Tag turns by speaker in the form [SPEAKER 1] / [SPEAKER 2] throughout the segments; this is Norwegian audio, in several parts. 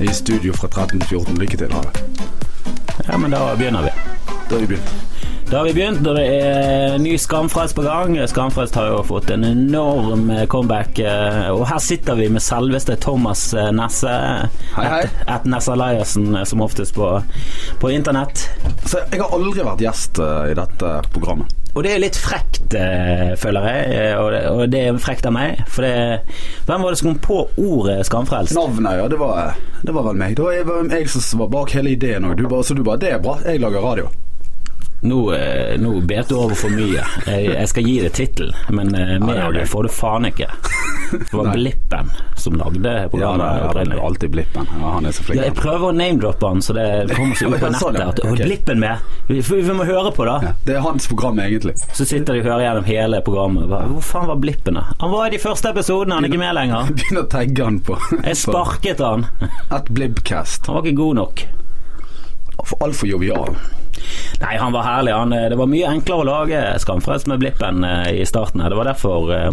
[SPEAKER 1] i studio fra 1314. Lykke til. Ha det.
[SPEAKER 2] Ja, men da begynner vi.
[SPEAKER 1] Da har vi begynt.
[SPEAKER 2] Da har vi begynt, og det er ny Skamfrelst på gang. Skamfrelst har jo fått en enorm comeback, eh, og her sitter vi med selveste Thomas eh, Nesse.
[SPEAKER 1] Hei, hei.
[SPEAKER 2] At, at Nesse Eliassen, eh, som oftest på, på internett.
[SPEAKER 1] Så jeg har aldri vært gjest eh, i dette programmet.
[SPEAKER 2] Og det er litt frekt, eh, føler jeg, eh, og det, og det er frekt av meg. For det, hvem var det som kom på ordet skamfrelst?
[SPEAKER 1] Navnet, ja, det var, eh, det var vel meg. Det var jeg, var jeg som var bak hele ideen. Og du bare, så du bare 'Det er bra, jeg lager radio'.
[SPEAKER 2] Nå, eh, nå bet du over for mye. Jeg, jeg skal gi det tittel, men eh, mer
[SPEAKER 1] Ja, det er ok.
[SPEAKER 2] får du faen ikke. Det var Blippen som lagde
[SPEAKER 1] Ja,
[SPEAKER 2] programmet.
[SPEAKER 1] nei, ja, det
[SPEAKER 2] opprinnelig.
[SPEAKER 1] er alltid Blippen. Ja, han er så flink.
[SPEAKER 2] Ja, jeg prøver å name-droppe han, så det kommer seg ut på
[SPEAKER 1] Ja, sånn,
[SPEAKER 2] nettet.
[SPEAKER 1] ja.
[SPEAKER 2] At, «Å,
[SPEAKER 1] Ok.
[SPEAKER 2] Blippen med! Vi, for vi må høre på,
[SPEAKER 1] Ja,
[SPEAKER 2] da.
[SPEAKER 1] det er hans program, egentlig.
[SPEAKER 2] Så sitter de og hører gjennom hele programmet. Hva, hvor faen var Blippen, da? Han var i de første episodene, han er ikke med lenger.
[SPEAKER 1] Begynn å tagge han på
[SPEAKER 2] Jeg sparket han.
[SPEAKER 1] på et Blibcast.
[SPEAKER 2] Han var ikke god nok.
[SPEAKER 1] For Altfor jovial.
[SPEAKER 2] Nei, han var herlig. Han, eh, det var mye enklere å lage Skamfrelst med Blippen eh, i starten. her. Det var derfor eh,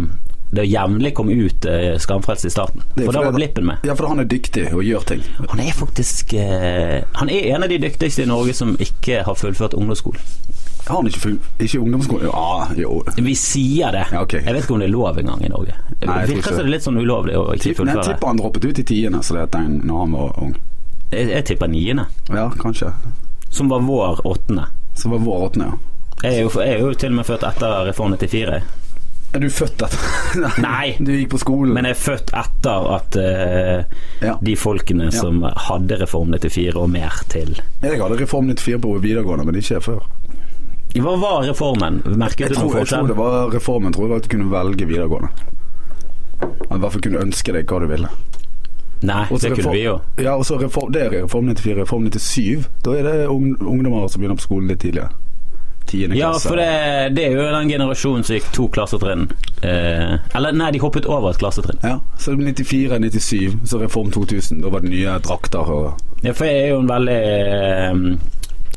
[SPEAKER 2] det jevnlig kom ut eh, Skamfrelst i starten.
[SPEAKER 1] Det er
[SPEAKER 2] For da
[SPEAKER 1] fordi
[SPEAKER 2] var
[SPEAKER 1] at-
[SPEAKER 2] Blippen med.
[SPEAKER 1] Ja, for han er dyktig og gjør ting.
[SPEAKER 2] Han er faktisk eh, Han er en av de dyktigste i Norge som ikke har fullført ungdomsskolen.
[SPEAKER 1] Har han ikke, fun- ikke ungdomsskole? Ja, jo.
[SPEAKER 2] Vi sier det.
[SPEAKER 1] Ja, ok.
[SPEAKER 2] Jeg vet ikke om det er lov engang i Norge.
[SPEAKER 1] Nei, jeg tror ikke
[SPEAKER 2] Virker
[SPEAKER 1] det.
[SPEAKER 2] som det er litt sånn ulovlig å ikke
[SPEAKER 1] Tipp, nei, jeg
[SPEAKER 2] fullføre.
[SPEAKER 1] tipper han droppet ut i tiende så det er den, når han var ung.
[SPEAKER 2] Jeg, jeg tipper niende,
[SPEAKER 1] Ja, kanskje.
[SPEAKER 2] som var vår åttende.
[SPEAKER 1] Så var vår åttende, ja.
[SPEAKER 2] Jeg er, jo, jeg er jo til og med født etter Reform 94,
[SPEAKER 1] Er du født etter?
[SPEAKER 2] Nei.
[SPEAKER 1] Du gikk på skolen?
[SPEAKER 2] men jeg er født etter at eh,
[SPEAKER 1] Ja.
[SPEAKER 2] de folkene som hadde Reform 94 og mer til
[SPEAKER 1] Jeg hadde Reform 94 på videregående, men ikke før.
[SPEAKER 2] Hva var reformen? Merket
[SPEAKER 1] Jeg tror, jeg
[SPEAKER 2] du noen
[SPEAKER 1] tror
[SPEAKER 2] forskjell?
[SPEAKER 1] det var reformen tror jeg var at du kunne velge videregående. At I hvert fall kunne ønske deg hva du ville.
[SPEAKER 2] Nei,
[SPEAKER 1] Og så
[SPEAKER 2] det kunne
[SPEAKER 1] reform-
[SPEAKER 2] vi jo.
[SPEAKER 1] Ja, og så reform, det er Reform 94, Reform 97. Da er det ung, ungdommer som begynner på skolen litt tidligere. Tiende
[SPEAKER 2] Ja,
[SPEAKER 1] klasse.
[SPEAKER 2] for det, det er jo den generasjonen som gikk to klassetrinn. Eh, eller nei, de hoppet over et klassetrinn.
[SPEAKER 1] Ja, så 94, 97, så Reform 2000. Da var det nye drakter og
[SPEAKER 2] Ja, for jeg er jo en veldig eh,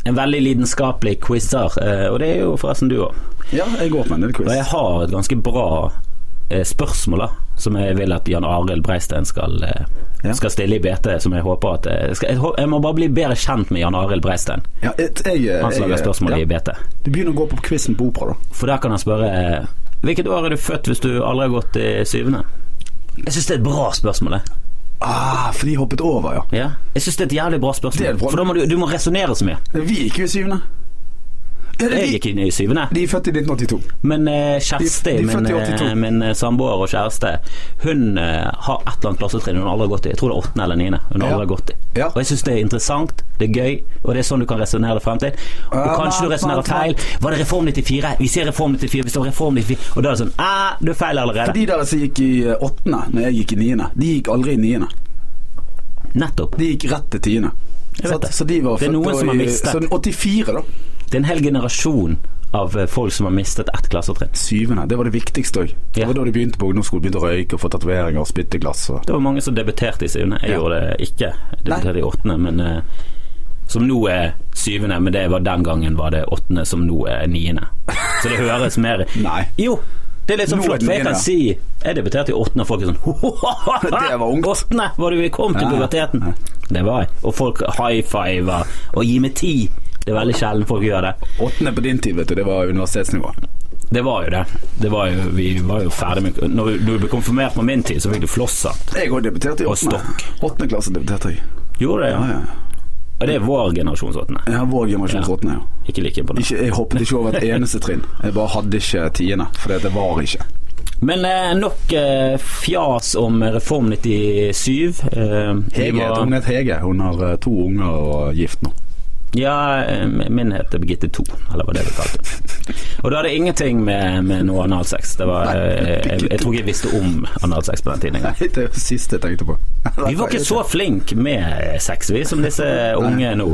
[SPEAKER 2] En veldig lidenskapelig quizer, eh, og det er jo forresten du òg.
[SPEAKER 1] Ja, jeg går på en del
[SPEAKER 2] Og jeg
[SPEAKER 1] quiz.
[SPEAKER 2] har et ganske bra eh, spørsmål, da, som jeg vil at Jan Arild Breistein skal, eh,
[SPEAKER 1] Ja.
[SPEAKER 2] skal stille i BT, som jeg håper at jeg, skal, jeg, hå- jeg må bare bli bedre kjent med Jan Arild Breistein.
[SPEAKER 1] Ja, et, jeg,
[SPEAKER 2] Han som lager spørsmål i
[SPEAKER 1] ja.
[SPEAKER 2] BT.
[SPEAKER 1] Du begynner å gå på quizen på opera, da.
[SPEAKER 2] For der kan han spørre eh, Hvilket år er du født hvis du aldri har gått i syvende? Jeg syns det er et bra spørsmål. jeg.
[SPEAKER 1] Ah, for de hoppet over, ja.
[SPEAKER 2] Ja. Jeg synes det er et jævlig bra spørsmål.
[SPEAKER 1] Det er et bra-
[SPEAKER 2] For da må du, du må resonnere så mye.
[SPEAKER 1] Vi gikk jo i syvende. Ja, det er
[SPEAKER 2] Jeg
[SPEAKER 1] de-
[SPEAKER 2] gikk inn i syvende.
[SPEAKER 1] De er født i 1982.
[SPEAKER 2] Men
[SPEAKER 1] De-
[SPEAKER 2] eh, Kjersti,
[SPEAKER 1] de er
[SPEAKER 2] min,
[SPEAKER 1] født i
[SPEAKER 2] eh,
[SPEAKER 1] 82.
[SPEAKER 2] min eh, samboer og kjæreste, hun eh, har et eller annet klassetrinn hun aldri har gått i. Jeg tror det er åttende eller niende. Hun har
[SPEAKER 1] Ja.
[SPEAKER 2] aldri har gått i.
[SPEAKER 1] Ja.
[SPEAKER 2] Og jeg syns det er interessant, det er gøy, og det er sånn du kan resonnere det frem til. Og
[SPEAKER 1] Ja,
[SPEAKER 2] kanskje
[SPEAKER 1] vent,
[SPEAKER 2] du resonnerer
[SPEAKER 1] vent,
[SPEAKER 2] feil.
[SPEAKER 1] vent.
[SPEAKER 2] Var det Reform 94? Vi sier Reform 94 hvis det var Reform 94, og da er det sånn Æ, du er feil allerede.
[SPEAKER 1] De der som gikk i eh, åttende når jeg gikk i niende, de gikk aldri i niende.
[SPEAKER 2] Nettopp.
[SPEAKER 1] De gikk rett til tiende.
[SPEAKER 2] Jeg
[SPEAKER 1] Så,
[SPEAKER 2] vet det.
[SPEAKER 1] så de var
[SPEAKER 2] Det er
[SPEAKER 1] født
[SPEAKER 2] noen
[SPEAKER 1] da
[SPEAKER 2] som har
[SPEAKER 1] i-
[SPEAKER 2] mistet.
[SPEAKER 1] Så 84, da.
[SPEAKER 2] Det er en hel generasjon av eh, folk som har mistet ett klassetrinn.
[SPEAKER 1] Syvende. Det var det viktigste òg. Det
[SPEAKER 2] Ja.
[SPEAKER 1] var da de begynte på ungdomsskolen, begynte å røyke og få tatoveringer og spytte i glass. Og...
[SPEAKER 2] Det var mange som debuterte i syvende. Jeg
[SPEAKER 1] Ja.
[SPEAKER 2] gjorde det ikke. Jeg debuterte i åttende, men eh, som nå er syvende, men det var den gangen var det åttende, som nå er niende. Så det høres mer
[SPEAKER 1] Nei.
[SPEAKER 2] Jo! Det er litt sånn
[SPEAKER 1] Nå er
[SPEAKER 2] flott,
[SPEAKER 1] det
[SPEAKER 2] for jeg kan
[SPEAKER 1] niende.
[SPEAKER 2] si Jeg debuterte i åttende, og folk er sånn
[SPEAKER 1] Det var ungt.
[SPEAKER 2] Åttende var du vi kom til
[SPEAKER 1] Ja.
[SPEAKER 2] puberteten. Det var jeg. Og folk high fiver og gi meg ti. Det er veldig sjelden folk gjør det.
[SPEAKER 1] Åttende på din tid, vet du, det var universitetsnivå.
[SPEAKER 2] Det var jo det. det var jo, vi var jo ferdig med Når du ble konfirmert på min tid, så fikk du flosshatt.
[SPEAKER 1] Jeg òg debuterte i
[SPEAKER 2] Og
[SPEAKER 1] åttende.
[SPEAKER 2] stokk.
[SPEAKER 1] Åttende klasse debuterte jeg.
[SPEAKER 2] Gjorde det?
[SPEAKER 1] Ja, ja.
[SPEAKER 2] Og det er vår generasjons åttende.
[SPEAKER 1] Jeg har vår generasjons
[SPEAKER 2] Ja.
[SPEAKER 1] åttende, ja.
[SPEAKER 2] Ikke like imponert.
[SPEAKER 1] Ikke, jeg hoppet ikke over et eneste trinn. Jeg bare hadde ikke tiende, for det var ikke.
[SPEAKER 2] Men eh, nok eh, fjas om Reform 97. Eh, vi
[SPEAKER 1] Hege,
[SPEAKER 2] må-
[SPEAKER 1] Hun het Hege. Hun har eh, to unger og gift nå.
[SPEAKER 2] ja, eh, min heter Birgitte 2, eller hva det vi kalte det. Og det hadde ingenting med, med noe analsex. Det var, eh, jeg, jeg tror ikke jeg visste om analsex på den tiden engang.
[SPEAKER 1] Nei, det er det siste jeg tenkte på.
[SPEAKER 2] Vi var ikke så flinke med sex, vi, som disse unge nå.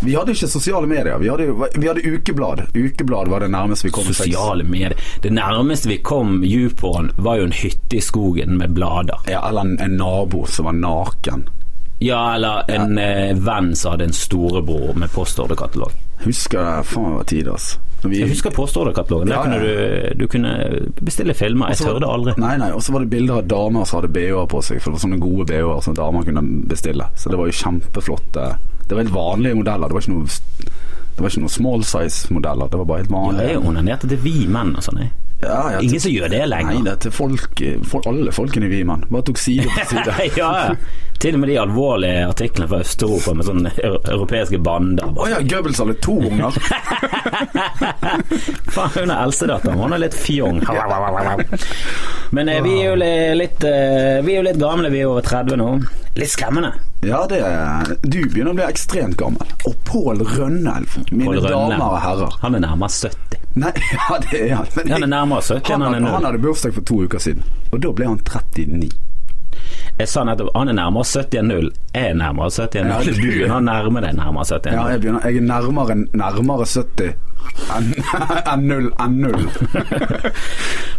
[SPEAKER 1] Vi hadde ikke sosiale medier. Vi hadde, vi hadde ukeblad. Ukeblad var det nærmeste vi kom sex.
[SPEAKER 2] Sosiale medier. Det nærmeste vi kom djuporn, var jo en hytte i skogen med blader.
[SPEAKER 1] Ja, eller en, en nabo som var naken.
[SPEAKER 2] Ja, eller en eh, venn som hadde en storebror med postordrekatalog.
[SPEAKER 1] Husker jeg faen hva tid, altså. Når vi-
[SPEAKER 2] Jeg husker påståendekatalogen. Der
[SPEAKER 1] Ja, ja.
[SPEAKER 2] kunne du, du kunne bestille filmer. Jeg
[SPEAKER 1] Og så var-
[SPEAKER 2] tørde aldri.
[SPEAKER 1] Nei, nei, og så var det bilder av damer som hadde BH-er på seg, for det var sånne gode BH-er som damer kunne bestille. Så det var jo kjempeflotte. Det var helt vanlige modeller, det var ikke noe, det var ikke noe small size-modeller, det var bare helt
[SPEAKER 2] Ja,
[SPEAKER 1] vanlige.
[SPEAKER 2] jeg onanerte til vi menn og sånn, jeg.
[SPEAKER 1] Ja, ja,
[SPEAKER 2] Ingen som gjør det lenger.
[SPEAKER 1] Nei, det er til folk, for alle folkene vi, mann. Bare tok side på side.
[SPEAKER 2] ja, ja. Til og med de alvorlige artiklene fra Øst-Europa med sånne eu- europeiske bander.
[SPEAKER 1] Å
[SPEAKER 2] Bare,
[SPEAKER 1] ja, Goebbels hadde to unger.
[SPEAKER 2] faen, hun er eldstedatteren, hun er litt fjong. Men eh, vi er jo li- litt, eh, vi er jo litt gamle, vi er over 30 nå. Litt skremmende.
[SPEAKER 1] Ja, det er Du begynner å bli ekstremt gammel. Og Pål Rønnelv, mine
[SPEAKER 2] Pål Rønne.
[SPEAKER 1] damer og herrer.
[SPEAKER 2] Han er nærmere 70.
[SPEAKER 1] Nei, ja, det er han. Men
[SPEAKER 2] Han er nærmere 70
[SPEAKER 1] han,
[SPEAKER 2] enn han er
[SPEAKER 1] hadde- han
[SPEAKER 2] nå.
[SPEAKER 1] hadde bursdag for to uker siden, og da ble han 39.
[SPEAKER 2] Jeg sa nettopp han er nærmere 70 enn 0. Jeg er nærmere 70 enn
[SPEAKER 1] Ja,
[SPEAKER 2] 0. Du
[SPEAKER 1] du-
[SPEAKER 2] begynner å nærme deg nærmere 70 enn
[SPEAKER 1] Ja,
[SPEAKER 2] 0.
[SPEAKER 1] jeg, begynner, jeg er nærmere, nærmere 70 enn enn null enn null.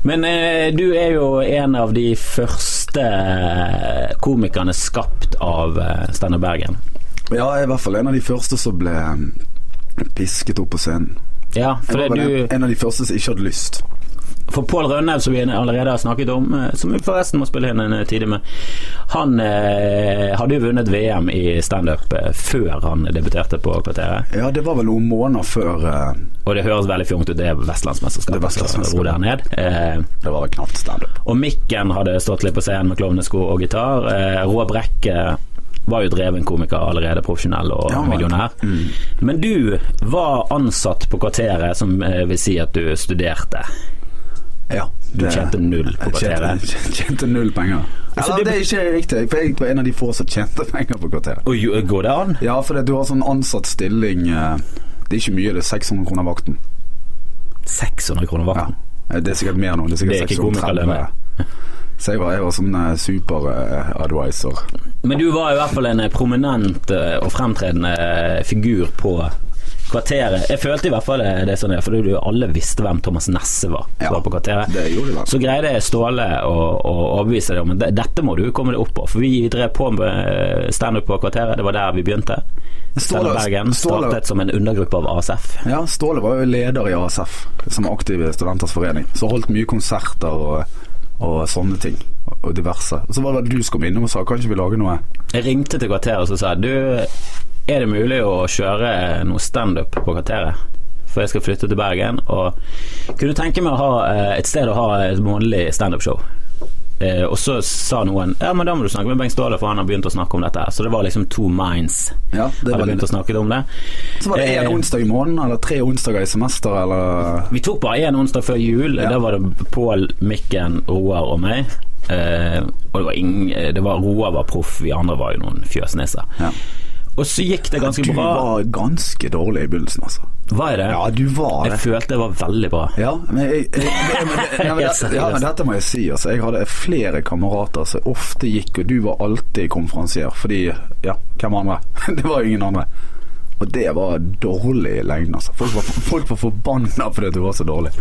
[SPEAKER 2] Men eh, du er jo en av de første eh, komikerne skapt av eh, Steinar Bergen.
[SPEAKER 1] Ja, jeg er i hvert fall en av de første som ble um, pisket opp på scenen.
[SPEAKER 2] Ja,
[SPEAKER 1] Jeg
[SPEAKER 2] for,
[SPEAKER 1] var vel
[SPEAKER 2] du,
[SPEAKER 1] en, en av de første som ikke hadde lyst.
[SPEAKER 2] for Pål Rønnaug, som vi allerede har snakket om, eh, som vi forresten må spille inn en eh, time med, han eh, hadde jo vunnet VM i standup eh, før han debuterte på Kvarteret.
[SPEAKER 1] Ja, det var vel noen måneder før eh,
[SPEAKER 2] Og det høres veldig fjongt ut, det er
[SPEAKER 1] Det
[SPEAKER 2] Vestlandsmesterskapet.
[SPEAKER 1] er Vestlandsmesterskapet.
[SPEAKER 2] så Ro der ned. Eh,
[SPEAKER 1] Det var vel knapt standup.
[SPEAKER 2] Og mikken hadde stått litt på scenen med klovnesko og gitar. Eh, Roar Brekke var jo dreven komiker allerede, profesjonell og
[SPEAKER 1] Ja, han var det. Mm.
[SPEAKER 2] millionær. Men du var ansatt på Kvarteret, som eh, vil si at du studerte.
[SPEAKER 1] Ja,
[SPEAKER 2] Du tjente null på Kvarteret.
[SPEAKER 1] Tjente, tjente null penger.
[SPEAKER 2] Altså,
[SPEAKER 1] Eller,
[SPEAKER 2] det
[SPEAKER 1] det er ikke riktig, for jeg var en av de få som tjente penger på Kvarteret.
[SPEAKER 2] Og jo, går det an?
[SPEAKER 1] Ja, for det, du har sånn ansatt stilling eh, Det er ikke mye, det er 600 kroner vakten.
[SPEAKER 2] 600 kroner
[SPEAKER 1] Ja.
[SPEAKER 2] vakten.
[SPEAKER 1] Eh, Det er sikkert mer nå. Det er
[SPEAKER 2] Det er
[SPEAKER 1] sikkert
[SPEAKER 2] ikke komikerlønn,
[SPEAKER 1] 630. Så jeg var, jeg var sånn eh, super eh, advisor.
[SPEAKER 2] Men du var i hvert fall en eh, prominent eh, og fremtredende eh, figur på Kvarteret. Jeg følte i hvert fall det, det sånn, for du, alle visste hvem Thomas Nesse var. som
[SPEAKER 1] Ja,
[SPEAKER 2] var på Kvarteret.
[SPEAKER 1] Det gjorde de vel.
[SPEAKER 2] Så greide Ståle å, å overbevise deg om at de- dette må du komme deg opp på. For vi drev på med eh, standup på Kvarteret, det var der vi begynte. Ståle Bergen startet som en undergruppe av ASF.
[SPEAKER 1] ja, Ståle var jo leder i ASF, som er aktiv i Studenters Forening. Så holdt mye konserter og, og sånne ting. Og diverse. Og så var det vel du som kom innom og sa kan ikke vi lage noe
[SPEAKER 2] Jeg ringte til Kvarteret og så sa jeg, du, er det mulig å kjøre noe standup på Kvarteret? For jeg skal flytte til Bergen, og kunne tenke meg å ha eh, et sted å ha et månedlig standup-show. Eh, og så sa noen ja, men da må du snakke med Bengt Ståle, for han har begynt å snakke om dette. her. Så det var liksom to minds
[SPEAKER 1] Ja, det
[SPEAKER 2] hadde
[SPEAKER 1] var
[SPEAKER 2] begynt å
[SPEAKER 1] det.
[SPEAKER 2] snakke om det.
[SPEAKER 1] Så var det
[SPEAKER 2] Eh,
[SPEAKER 1] én onsdag i måneden, eller tre onsdager i semester, eller
[SPEAKER 2] Vi tok bare én onsdag før jul.
[SPEAKER 1] Ja.
[SPEAKER 2] Der var det Pål, Mikken, Roar og meg. Eh, og det var ingen eh, det var, Roar var proff, vi andre var jo noen fjøsnisser.
[SPEAKER 1] Ja.
[SPEAKER 2] Og så gikk det ganske
[SPEAKER 1] Du
[SPEAKER 2] bra.
[SPEAKER 1] var ganske dårlig i begynnelsen, altså.
[SPEAKER 2] Var jeg det?
[SPEAKER 1] Ja, du var det.
[SPEAKER 2] jeg følte jeg var veldig bra.
[SPEAKER 1] Ja, men, jeg, jeg, jeg, men, det- ja, men,
[SPEAKER 2] Helt
[SPEAKER 1] det- ja, men
[SPEAKER 2] seriøst.
[SPEAKER 1] dette må jeg si. Altså. Jeg hadde flere kamerater som ofte gikk, og du var alltid konferansier. Fordi ja, hvem andre? Det var jo ingen andre. Og det var dårlig i lengden, altså. Folk var, folk var forbanna fordi du var så dårlig.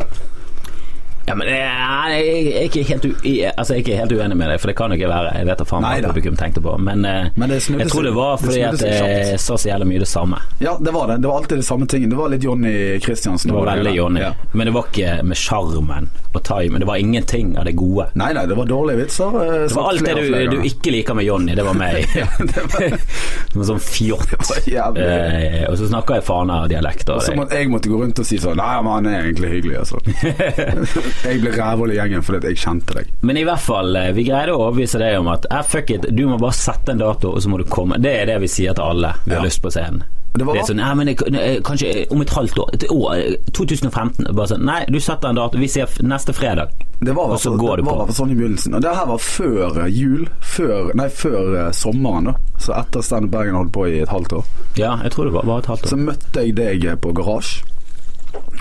[SPEAKER 2] Ja, men jeg, jeg, jeg, er ikke helt u, jeg, altså, jeg er ikke helt uenig med deg, for det kan jo ikke være Jeg vet da faen hva
[SPEAKER 1] Neida.
[SPEAKER 2] publikum tenkte på, men, eh,
[SPEAKER 1] Men det snudde
[SPEAKER 2] jeg tror
[SPEAKER 1] seg-
[SPEAKER 2] det var
[SPEAKER 1] det
[SPEAKER 2] fordi
[SPEAKER 1] snudde
[SPEAKER 2] at eh,
[SPEAKER 1] seg kjapt.
[SPEAKER 2] jeg sa så jævlig mye det samme.
[SPEAKER 1] Ja, det var det. Det var alltid det samme tingen. Det var litt Jonny Christiansen.
[SPEAKER 2] Det var
[SPEAKER 1] over
[SPEAKER 2] veldig
[SPEAKER 1] hele.
[SPEAKER 2] Johnny,
[SPEAKER 1] Ja.
[SPEAKER 2] men det var ikke med sjarmen og timen. Det var ingenting av det gode.
[SPEAKER 1] Nei, nei, det var dårlige vitser. eh,
[SPEAKER 2] Det var alt det du, du ikke liker med Jonny, det var meg. Som en sånn fjott.
[SPEAKER 1] jævlig.
[SPEAKER 2] Eh, og så snakker jeg Fana-dialekt.
[SPEAKER 1] Og
[SPEAKER 2] Og
[SPEAKER 1] så
[SPEAKER 2] det-
[SPEAKER 1] måtte jeg måtte gå rundt og si sånn Nei, men han er egentlig hyggelig, altså. jeg ble rævhold i gjengen fordi at jeg kjente deg.
[SPEAKER 2] Men i hvert fall, eh, vi greide å overbevise deg om at eh, fuck it, du må bare sette en dato, og så må du komme. Det er det vi sier til alle vi har
[SPEAKER 1] Ja.
[SPEAKER 2] lyst på scenen.
[SPEAKER 1] Det var-
[SPEAKER 2] er sånn, nei, men det, eh, kanskje eh, om et halvt år, et år, eh, 2015. Bare sånn, nei, du setter en dato, vi ser f- neste fredag.
[SPEAKER 1] Det var,
[SPEAKER 2] Og så
[SPEAKER 1] hvertfall-
[SPEAKER 2] går
[SPEAKER 1] det
[SPEAKER 2] du
[SPEAKER 1] var
[SPEAKER 2] på.
[SPEAKER 1] hvertfall sånn i begynnelsen. Og det her var før eh, jul. Før, nei, før eh, sommeren, da. Så etter Standup Bergen holdt på i et halvt år.
[SPEAKER 2] Ja, jeg tror det var, var et halvt
[SPEAKER 1] Så
[SPEAKER 2] år.
[SPEAKER 1] møtte jeg deg eh, på garasje.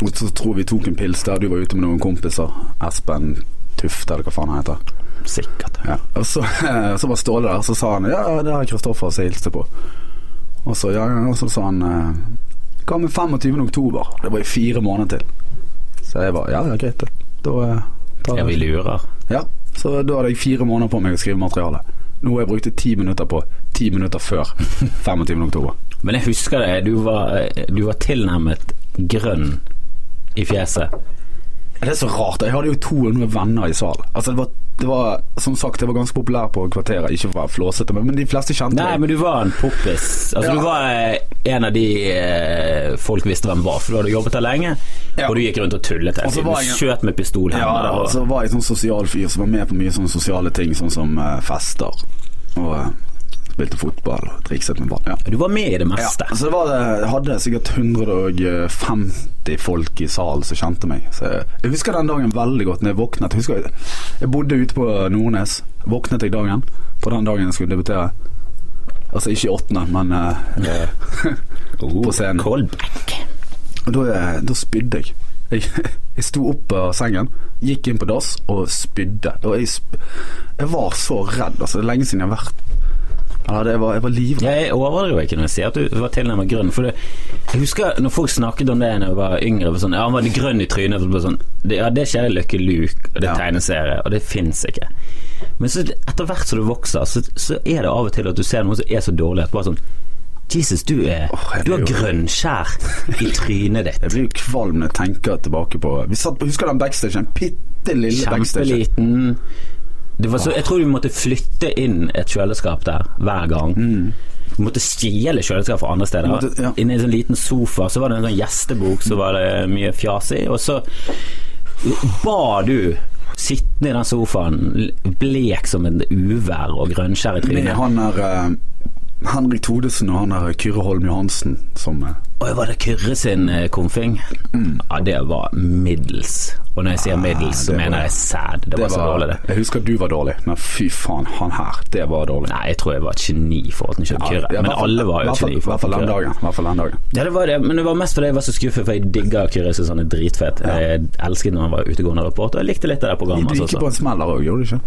[SPEAKER 1] Og så tror vi tok en pils der. Du var ute med noen kompiser. Espen Tufte, eller hva faen han heter.
[SPEAKER 2] Sikkert.
[SPEAKER 1] Ja. Og så, så var Ståle der, så sa han Ja, det er Kristoffer som jeg hilste på. Og så, ja, ja, og så sa han eh, Hva med 25. oktober? Det var i fire måneder til. Så jeg var Ja, ja, greit, det. Da eh, tar
[SPEAKER 2] Ja, vi
[SPEAKER 1] jeg
[SPEAKER 2] lurer.
[SPEAKER 1] ja, så da hadde jeg fire måneder på meg å skrive materiale. Noe jeg brukte ti minutter på ti minutter før 25. oktober.
[SPEAKER 2] eh, Men jeg husker det, du var, du var tilnærmet grønn i fjeset.
[SPEAKER 1] Det er så rart. Jeg hadde jo 200 venner i salen. Altså, det var, det var som sagt, jeg var ganske populær på kvarteret, ikke for å være flåsete, men, men de fleste kjente
[SPEAKER 2] Nei,
[SPEAKER 1] meg.
[SPEAKER 2] men du var en poppis. Altså,
[SPEAKER 1] Ja.
[SPEAKER 2] Du var eh, en av de eh, folk visste hvem var, for du hadde jobbet der lenge.
[SPEAKER 1] Ja.
[SPEAKER 2] Og du gikk rundt og tullet hele
[SPEAKER 1] Og så
[SPEAKER 2] tiden.
[SPEAKER 1] var
[SPEAKER 2] Du
[SPEAKER 1] jeg-
[SPEAKER 2] skjøt med pistol
[SPEAKER 1] Ja,
[SPEAKER 2] henne,
[SPEAKER 1] da,
[SPEAKER 2] og-
[SPEAKER 1] og så var jeg sånn sosial fyr som var med på mye sånne sosiale ting, sånn som eh, fester. Og eh, spilte fotball og trikset med ball. Ja.
[SPEAKER 2] Du var med i det
[SPEAKER 1] Ja,
[SPEAKER 2] meste.
[SPEAKER 1] så det var, jeg hadde sikkert 150 folk i salen som kjente meg. Så jeg, jeg husker den dagen veldig godt når jeg våknet. Jeg, husker, jeg- jeg bodde ute på Nordnes. Våknet jeg dagen på den dagen jeg skulle debutere. Altså ikke i åttende, men eh, eh, Oh, på scenen.
[SPEAKER 2] Kolbekk.
[SPEAKER 1] Og da, eh, da spydde jeg. jeg. Jeg sto opp av sengen, gikk inn på dass og spydde. Og jeg, sp jeg var så redd. Altså, det er lenge siden jeg har vært ja, det var, Jeg var livredd.
[SPEAKER 2] Jeg overdriver ikke når jeg sier at du var tilnærmet grønn. For det, jeg husker når folk snakket om det da jeg var yngre. for Sånn, ja, han var litt grønn i trynet. for det ble Sånn, det, ja, det skjer i Lucky Luke, og det
[SPEAKER 1] Ja.
[SPEAKER 2] er tegneserie, og det fins ikke. Men så etter hvert som du vokser, så, så er det av og til at du ser noen som er så dårlig at bare sånn Jesus, du er
[SPEAKER 1] Åh, jeg
[SPEAKER 2] Du
[SPEAKER 1] blir
[SPEAKER 2] har
[SPEAKER 1] jo-
[SPEAKER 2] grønnskjær i trynet ditt.
[SPEAKER 1] Jeg blir jo kvalm når jeg tenker tilbake på Vi satt på, Husker den backstagen? Bitte lille backstagen.
[SPEAKER 2] Kjempeliten. Det var så, jeg tror vi måtte flytte inn et kjøleskap der hver gang. Vi måtte stjele kjøleskap fra andre steder.
[SPEAKER 1] Mm. Måtte- ja.
[SPEAKER 2] Inne i en sånn liten sofa, så var det en sånn gjestebok, så var det mye fjas i. Og så ba du sittende i den sofaen, l- blek som en uvær og grønnskjær i
[SPEAKER 1] Med
[SPEAKER 2] trynet.
[SPEAKER 1] han der eh, Henrik Thodesen og han der Kyrre Holm Johansen som eh,
[SPEAKER 2] Oi, var det Kyrre sin eh, komfing? Ja, det var middels. Og når jeg sier middels, så
[SPEAKER 1] Mm. Ah, det var-
[SPEAKER 2] mener jeg sæd. Det var så dårlig, det.
[SPEAKER 1] Jeg husker du var dårlig, men fy faen, han her, det var dårlig.
[SPEAKER 2] Nei, jeg tror jeg var et geni i forhold til Kjell Kyrre.
[SPEAKER 1] Ja, i
[SPEAKER 2] men
[SPEAKER 1] hvert fall-
[SPEAKER 2] alle var jo
[SPEAKER 1] hvert
[SPEAKER 2] et
[SPEAKER 1] fall-
[SPEAKER 2] geni
[SPEAKER 1] I
[SPEAKER 2] i
[SPEAKER 1] hvert
[SPEAKER 2] forhold
[SPEAKER 1] fall
[SPEAKER 2] til
[SPEAKER 1] den
[SPEAKER 2] Kyrre.
[SPEAKER 1] dagen. i hvert fall den dagen.
[SPEAKER 2] Ja, det var det, men det var mest fordi jeg var så skuffet, for jeg digga Kyrre jeg synes han er dritfet. Jeg sånn Eh, elsket når han var utegående reporter, og jeg likte litt av det
[SPEAKER 1] Du
[SPEAKER 2] programmet hans
[SPEAKER 1] gikk jo på
[SPEAKER 2] også.
[SPEAKER 1] en smell der òg, gjorde du ikke?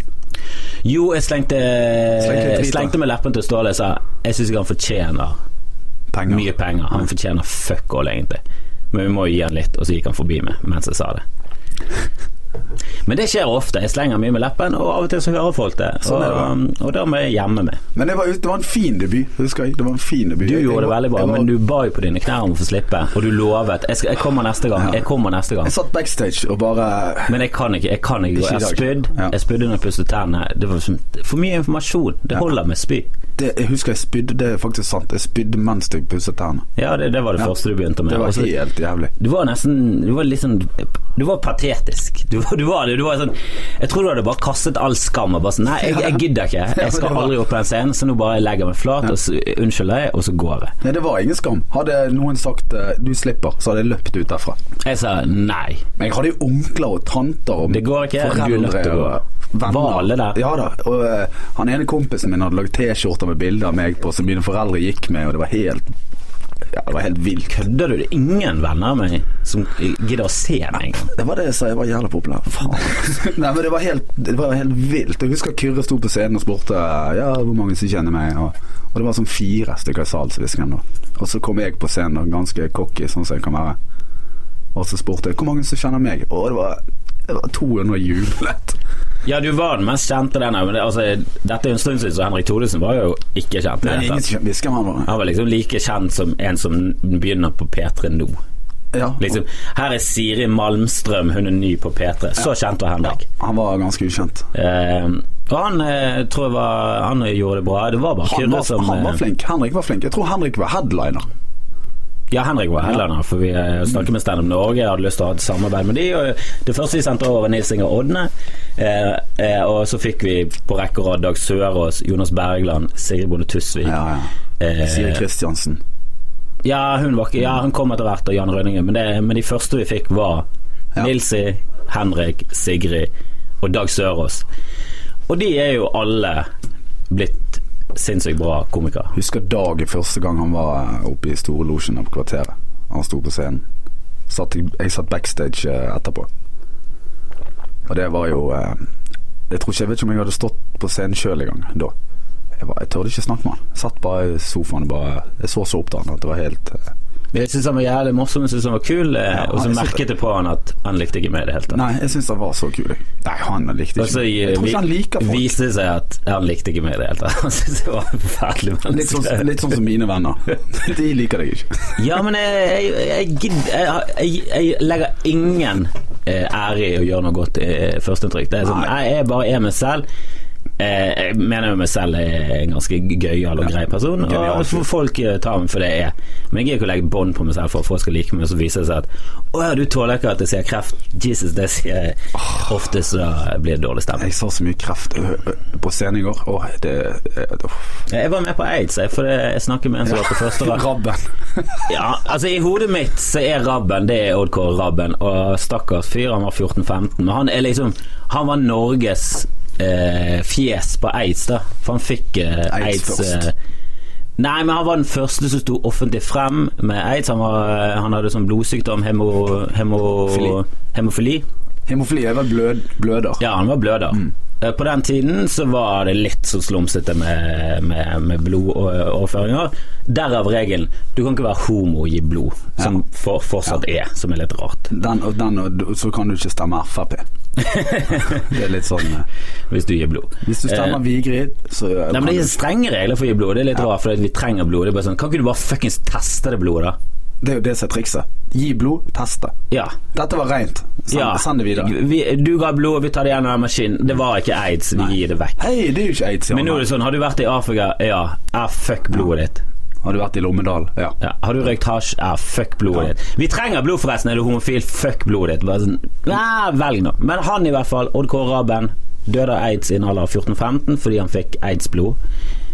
[SPEAKER 2] Jo, jeg slengte,
[SPEAKER 1] Slengte litt
[SPEAKER 2] jeg
[SPEAKER 1] hvit, da.
[SPEAKER 2] slengte med leppen til Ståle og sa jeg syns ikke han fortjener
[SPEAKER 1] Penger.
[SPEAKER 2] mye penger. Han fortjener fuck all, egentlig. Men vi må jo gi han litt, og så gikk han forbi meg mens jeg sa det. Men det skjer ofte. Jeg slenger mye med leppen, og av og til så hører folk det. Så,
[SPEAKER 1] Sånn er
[SPEAKER 2] og, da må jeg gjemme meg.
[SPEAKER 1] Men det var, det var en fin debut, husker jeg. Det var en fin debut.
[SPEAKER 2] Du
[SPEAKER 1] Jeg- jeg
[SPEAKER 2] gjorde det
[SPEAKER 1] var-
[SPEAKER 2] veldig bra,
[SPEAKER 1] jeg var-
[SPEAKER 2] men du ba jo på dine knær om å få slippe, og du lovet jeg, skal, 'jeg kommer neste gang', jeg kommer neste gang.
[SPEAKER 1] Jeg satt backstage og bare
[SPEAKER 2] Men jeg kan ikke. Jeg kan ikke gå.
[SPEAKER 1] Ikke i
[SPEAKER 2] Jeg
[SPEAKER 1] dag.
[SPEAKER 2] spydde
[SPEAKER 1] Ja.
[SPEAKER 2] jeg spydde når jeg pusset tennene. Det var som, for mye informasjon. Det holder med spy.
[SPEAKER 1] det, Jeg husker jeg spydde, det er faktisk sant. Jeg spydde mens jeg pusset tennene.
[SPEAKER 2] Ja, det, det var det første du begynte med.
[SPEAKER 1] Det var
[SPEAKER 2] Og så-
[SPEAKER 1] helt jævlig.
[SPEAKER 2] du var nesten Du var litt sånn Du var patetisk. Du, var- du var det. Du var sånn Jeg tror du hadde bare kastet all skam og bare sånn Nei, jeg, jeg gidder ikke. Jeg skal
[SPEAKER 1] det var-
[SPEAKER 2] aldri opp på den scenen, så nå bare jeg legger meg flat og så unnskylder jeg, og så går jeg.
[SPEAKER 1] Nei, det var ingen skam. Hadde noen sagt eh, 'du slipper', så hadde jeg løpt ut derfra.
[SPEAKER 2] Jeg sa nei.
[SPEAKER 1] Men jeg hadde jo onkler og tanter og
[SPEAKER 2] Det går ikke. Du er nødt
[SPEAKER 1] foreldre
[SPEAKER 2] til å gå.
[SPEAKER 1] og venner.
[SPEAKER 2] Var alle der?
[SPEAKER 1] Ja da. Og eh, han ene kompisen min hadde lagd T-skjorter med bilder av meg på som mine foreldre gikk med, og det var helt Ja, det var helt vilt.
[SPEAKER 2] Kødder du? Det er ingen venner av meg som gidder å se meg engang.
[SPEAKER 1] Det var det jeg sa, jeg var jævla populær. Faen. Nei, men det var, helt, det var helt vilt. Jeg husker Kyrre sto på scenen og spurte Ja, hvor mange som kjenner meg. Og, og det var sånn fire stykker i salen som hvisket nå. Og så kom jeg på scenen og ganske cocky, sånn som jeg kan være. Og så spurte jeg hvor mange som kjenner meg. Og det var, det var 200 jublet.
[SPEAKER 2] Ja, du var den mest kjente den her, men det, altså, dette er jo en stund siden, så Henrik Thodesen var jo ikke kjent. i
[SPEAKER 1] Nei,
[SPEAKER 2] det hele
[SPEAKER 1] ingen
[SPEAKER 2] tatt.
[SPEAKER 1] som hvisker med hverandre.
[SPEAKER 2] Han var liksom like kjent som en som begynner på P3 nå.
[SPEAKER 1] Ja.
[SPEAKER 2] Liksom, her er Siri Malmstrøm, hun er ny på P3. Så kjent var Henrik.
[SPEAKER 1] Han var ganske ukjent.
[SPEAKER 2] Eh, og han eh, tror jeg var Han gjorde det bra. Det var bare
[SPEAKER 1] Han
[SPEAKER 2] Kyrre
[SPEAKER 1] var,
[SPEAKER 2] som
[SPEAKER 1] han var
[SPEAKER 2] eh,
[SPEAKER 1] flink. Henrik var flink. Jeg tror Henrik var headliner.
[SPEAKER 2] Ja, Henrik var headliner, for vi eh, snakket med Standup Norge. Jeg hadde lyst til å ha et samarbeid med de og Det første vi sendte over, var Nils Inger Odne. Eh, eh, og så fikk vi på rekke og rad Dag Sørås, Jonas Bergland, Sigrid Bonde Tusvik.
[SPEAKER 1] Ja, ja. Siri
[SPEAKER 2] Eh,
[SPEAKER 1] Kristiansen.
[SPEAKER 2] ja, hun var, ikke- ja, han kom etter hvert, og Jan Rønningen. Men, det, men de første vi fikk, var
[SPEAKER 1] Ja.
[SPEAKER 2] Nilsi, Henrik, Sigrid og Dag Sørås. Og de er jo alle blitt sinnssykt bra komikere.
[SPEAKER 1] Husker Dag første gang han var eh, oppe i storlosjen på kvarteret. Han sto på scenen. Satt, i- jeg satt backstage eh, etterpå. Og det var jo eh, Jeg tror ikke, jeg vet ikke om jeg hadde stått på scenen sjøl engang da. Jeg, var, jeg tørde ikke snakke med han. Jeg satt bare i sofaen og bare Jeg så så opp til han at det var helt eh,
[SPEAKER 2] Men Jeg syntes han var jævlig morsom, jeg synes han var kul, eh,
[SPEAKER 1] Ja,
[SPEAKER 2] og så
[SPEAKER 1] jeg synes-
[SPEAKER 2] merket jeg på han at han likte ikke meg i det hele tatt.
[SPEAKER 1] Nei, jeg syns han var så kul. jeg. Nei, han likte
[SPEAKER 2] Og så
[SPEAKER 1] ikke meg. Jeg tror ikke han liker folk.
[SPEAKER 2] viste det seg at han likte ikke meg i det hele tatt. Han syntes jeg var en forferdelig
[SPEAKER 1] Litt
[SPEAKER 2] menneske.
[SPEAKER 1] sånn, litt sånn som mine venner. De liker deg ikke.
[SPEAKER 2] Ja, men jeg, jeg, jeg gidder jeg, jeg, jeg legger ingen eh, ære i å gjøre noe godt i førsteinntrykk. Det er sånn,
[SPEAKER 1] Nei.
[SPEAKER 2] jeg, jeg bare er meg selv. Eh, jeg mener jo meg selv er en ganske gøyal og grei person,
[SPEAKER 1] Genial
[SPEAKER 2] og
[SPEAKER 1] fyr.
[SPEAKER 2] f- folk eh, tar meg for det jeg er. Men jeg gidder ikke å legge bånd på meg selv for at folk skal like meg, og så viser det seg at Å ja, du tåler ikke at jeg sier kreft. Jesus, det sier jeg ofte, så blir det dårlig stemning.
[SPEAKER 1] Jeg sa så mye kreft ø, ø, på scenen i går. Åh, det eh, ø, uff.
[SPEAKER 2] Jeg var med på aids, jeg, for det- jeg snakker med en som var på første rad.
[SPEAKER 1] Rabben.
[SPEAKER 2] Ja, altså I hodet mitt så er Rabben det er Odd Kåre Rabben. Og stakkars fyr, han var 14-15. Men han er liksom Han var Norges eh, fjes på aids, da. For han fikk eh,
[SPEAKER 1] Aids
[SPEAKER 2] aids,
[SPEAKER 1] først.
[SPEAKER 2] eh, Nei, men han var den første som sto offentlig frem med aids. Han, var, han hadde sånn blodsykdom, hemo, hemo,
[SPEAKER 1] Fili.
[SPEAKER 2] hemofili.
[SPEAKER 1] Hemofili er vel blød, bløder.
[SPEAKER 2] Ja, han var bløder.
[SPEAKER 1] Mm.
[SPEAKER 2] Eh, På den tiden så var det litt så slumsete med, med, med blodoverføringer. Derav regelen du kan ikke være homo og gi blod, som for, fortsatt er, som er litt rart.
[SPEAKER 1] Den og den, og d- så kan du ikke stemme Frp. Det er litt sånn ø,
[SPEAKER 2] Hvis du gir blod.
[SPEAKER 1] Hvis du stemmer
[SPEAKER 2] Eh,
[SPEAKER 1] Vigrid, så ø,
[SPEAKER 2] Nei,
[SPEAKER 1] kan
[SPEAKER 2] men Det er
[SPEAKER 1] du-
[SPEAKER 2] strenge regler for å gi blod. Det er litt rart, for vi trenger blod. Det er bare sånn, Kan ikke du bare fuckings teste det blodet, da?
[SPEAKER 1] Det er jo det som er trikset. Gi blod, teste.
[SPEAKER 2] Ja.
[SPEAKER 1] Dette var rent. Send,
[SPEAKER 2] ja.
[SPEAKER 1] send det videre.
[SPEAKER 2] Vi, du ga blod, vi tar det gjennom maskinen. Det var ikke aids, vi gir det vekk.
[SPEAKER 1] Hei, det er jo ikke aids, sier
[SPEAKER 2] Men nå
[SPEAKER 1] han.
[SPEAKER 2] er det sånn, har du vært i Afrika? Ja. Ah, fuck blodet ditt.
[SPEAKER 1] Har du vært i Lommedal? Ja.
[SPEAKER 2] Ja, har du røykt hasj? Ja, fuck blodet
[SPEAKER 1] Ja.
[SPEAKER 2] ditt. Vi trenger blod, forresten. Er du homofil? Fuck blodet ditt. Bare sånn, nei, velg nå. Men han i hvert fall, Odd Kåre Raben, døde av aids i en alder av 14-15 fordi han fikk aidsblod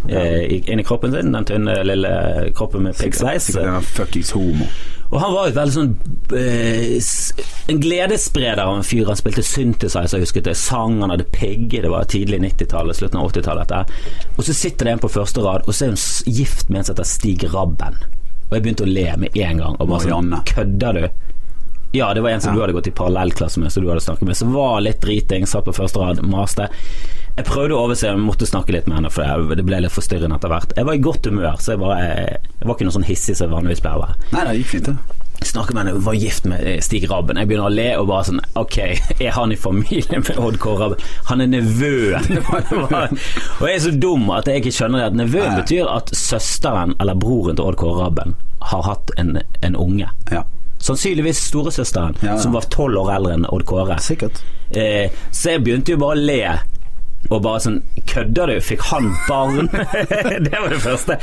[SPEAKER 2] eh, i- inni kroppen sin. Den tynne, lille kroppen med
[SPEAKER 1] Sikkert
[SPEAKER 2] piggsveis.
[SPEAKER 1] sikkert en fuckings homo.
[SPEAKER 2] Og han var jo et veldig sånn eh, s- En gledesspreder av en fyr. Han spilte synthesizer, husket jeg. Sang, han hadde pigg. Det var tidlig 90-tallet, slutten av 80-tallet. dette her. Og så sitter det en på første rad, og så er hun s- gift med en som heter Stig Rabben. Og jeg begynte å le med en gang. Og bare sånn
[SPEAKER 1] Marianne.
[SPEAKER 2] Kødder du? Ja, det var en som du hadde gått i parallellklasse med, som du hadde snakket med, som var litt driting, satt på første rad, maste. Jeg prøvde å overse, jeg måtte snakke litt med henne, for jeg- det ble litt forstyrrende etter hvert. Jeg var i godt humør, så jeg, bare, jeg, jeg var ikke noe sånn hissig som jeg vanligvis pleier å være
[SPEAKER 1] Nei, det gikk fint, det.
[SPEAKER 2] snakker med henne, hun var gift med eh, Stig Rabben. Jeg begynner å le og bare sånn Ok, er han i familie med Odd Kåre Rabben? Han er nevøen! Det var- det var- og jeg er så dum at jeg ikke skjønner det. At nevøen
[SPEAKER 1] Nei.
[SPEAKER 2] betyr at søsteren eller broren til Odd Kåre Rabben har hatt en, en unge.
[SPEAKER 1] Ja.
[SPEAKER 2] Sannsynligvis storesøsteren,
[SPEAKER 1] Ja, ja.
[SPEAKER 2] som var tolv år eldre enn Odd Kåre.
[SPEAKER 1] Sikkert.
[SPEAKER 2] Eh, så jeg begynte jo bare å le. Og bare sånn Kødder du? Fikk han barn? det var det første.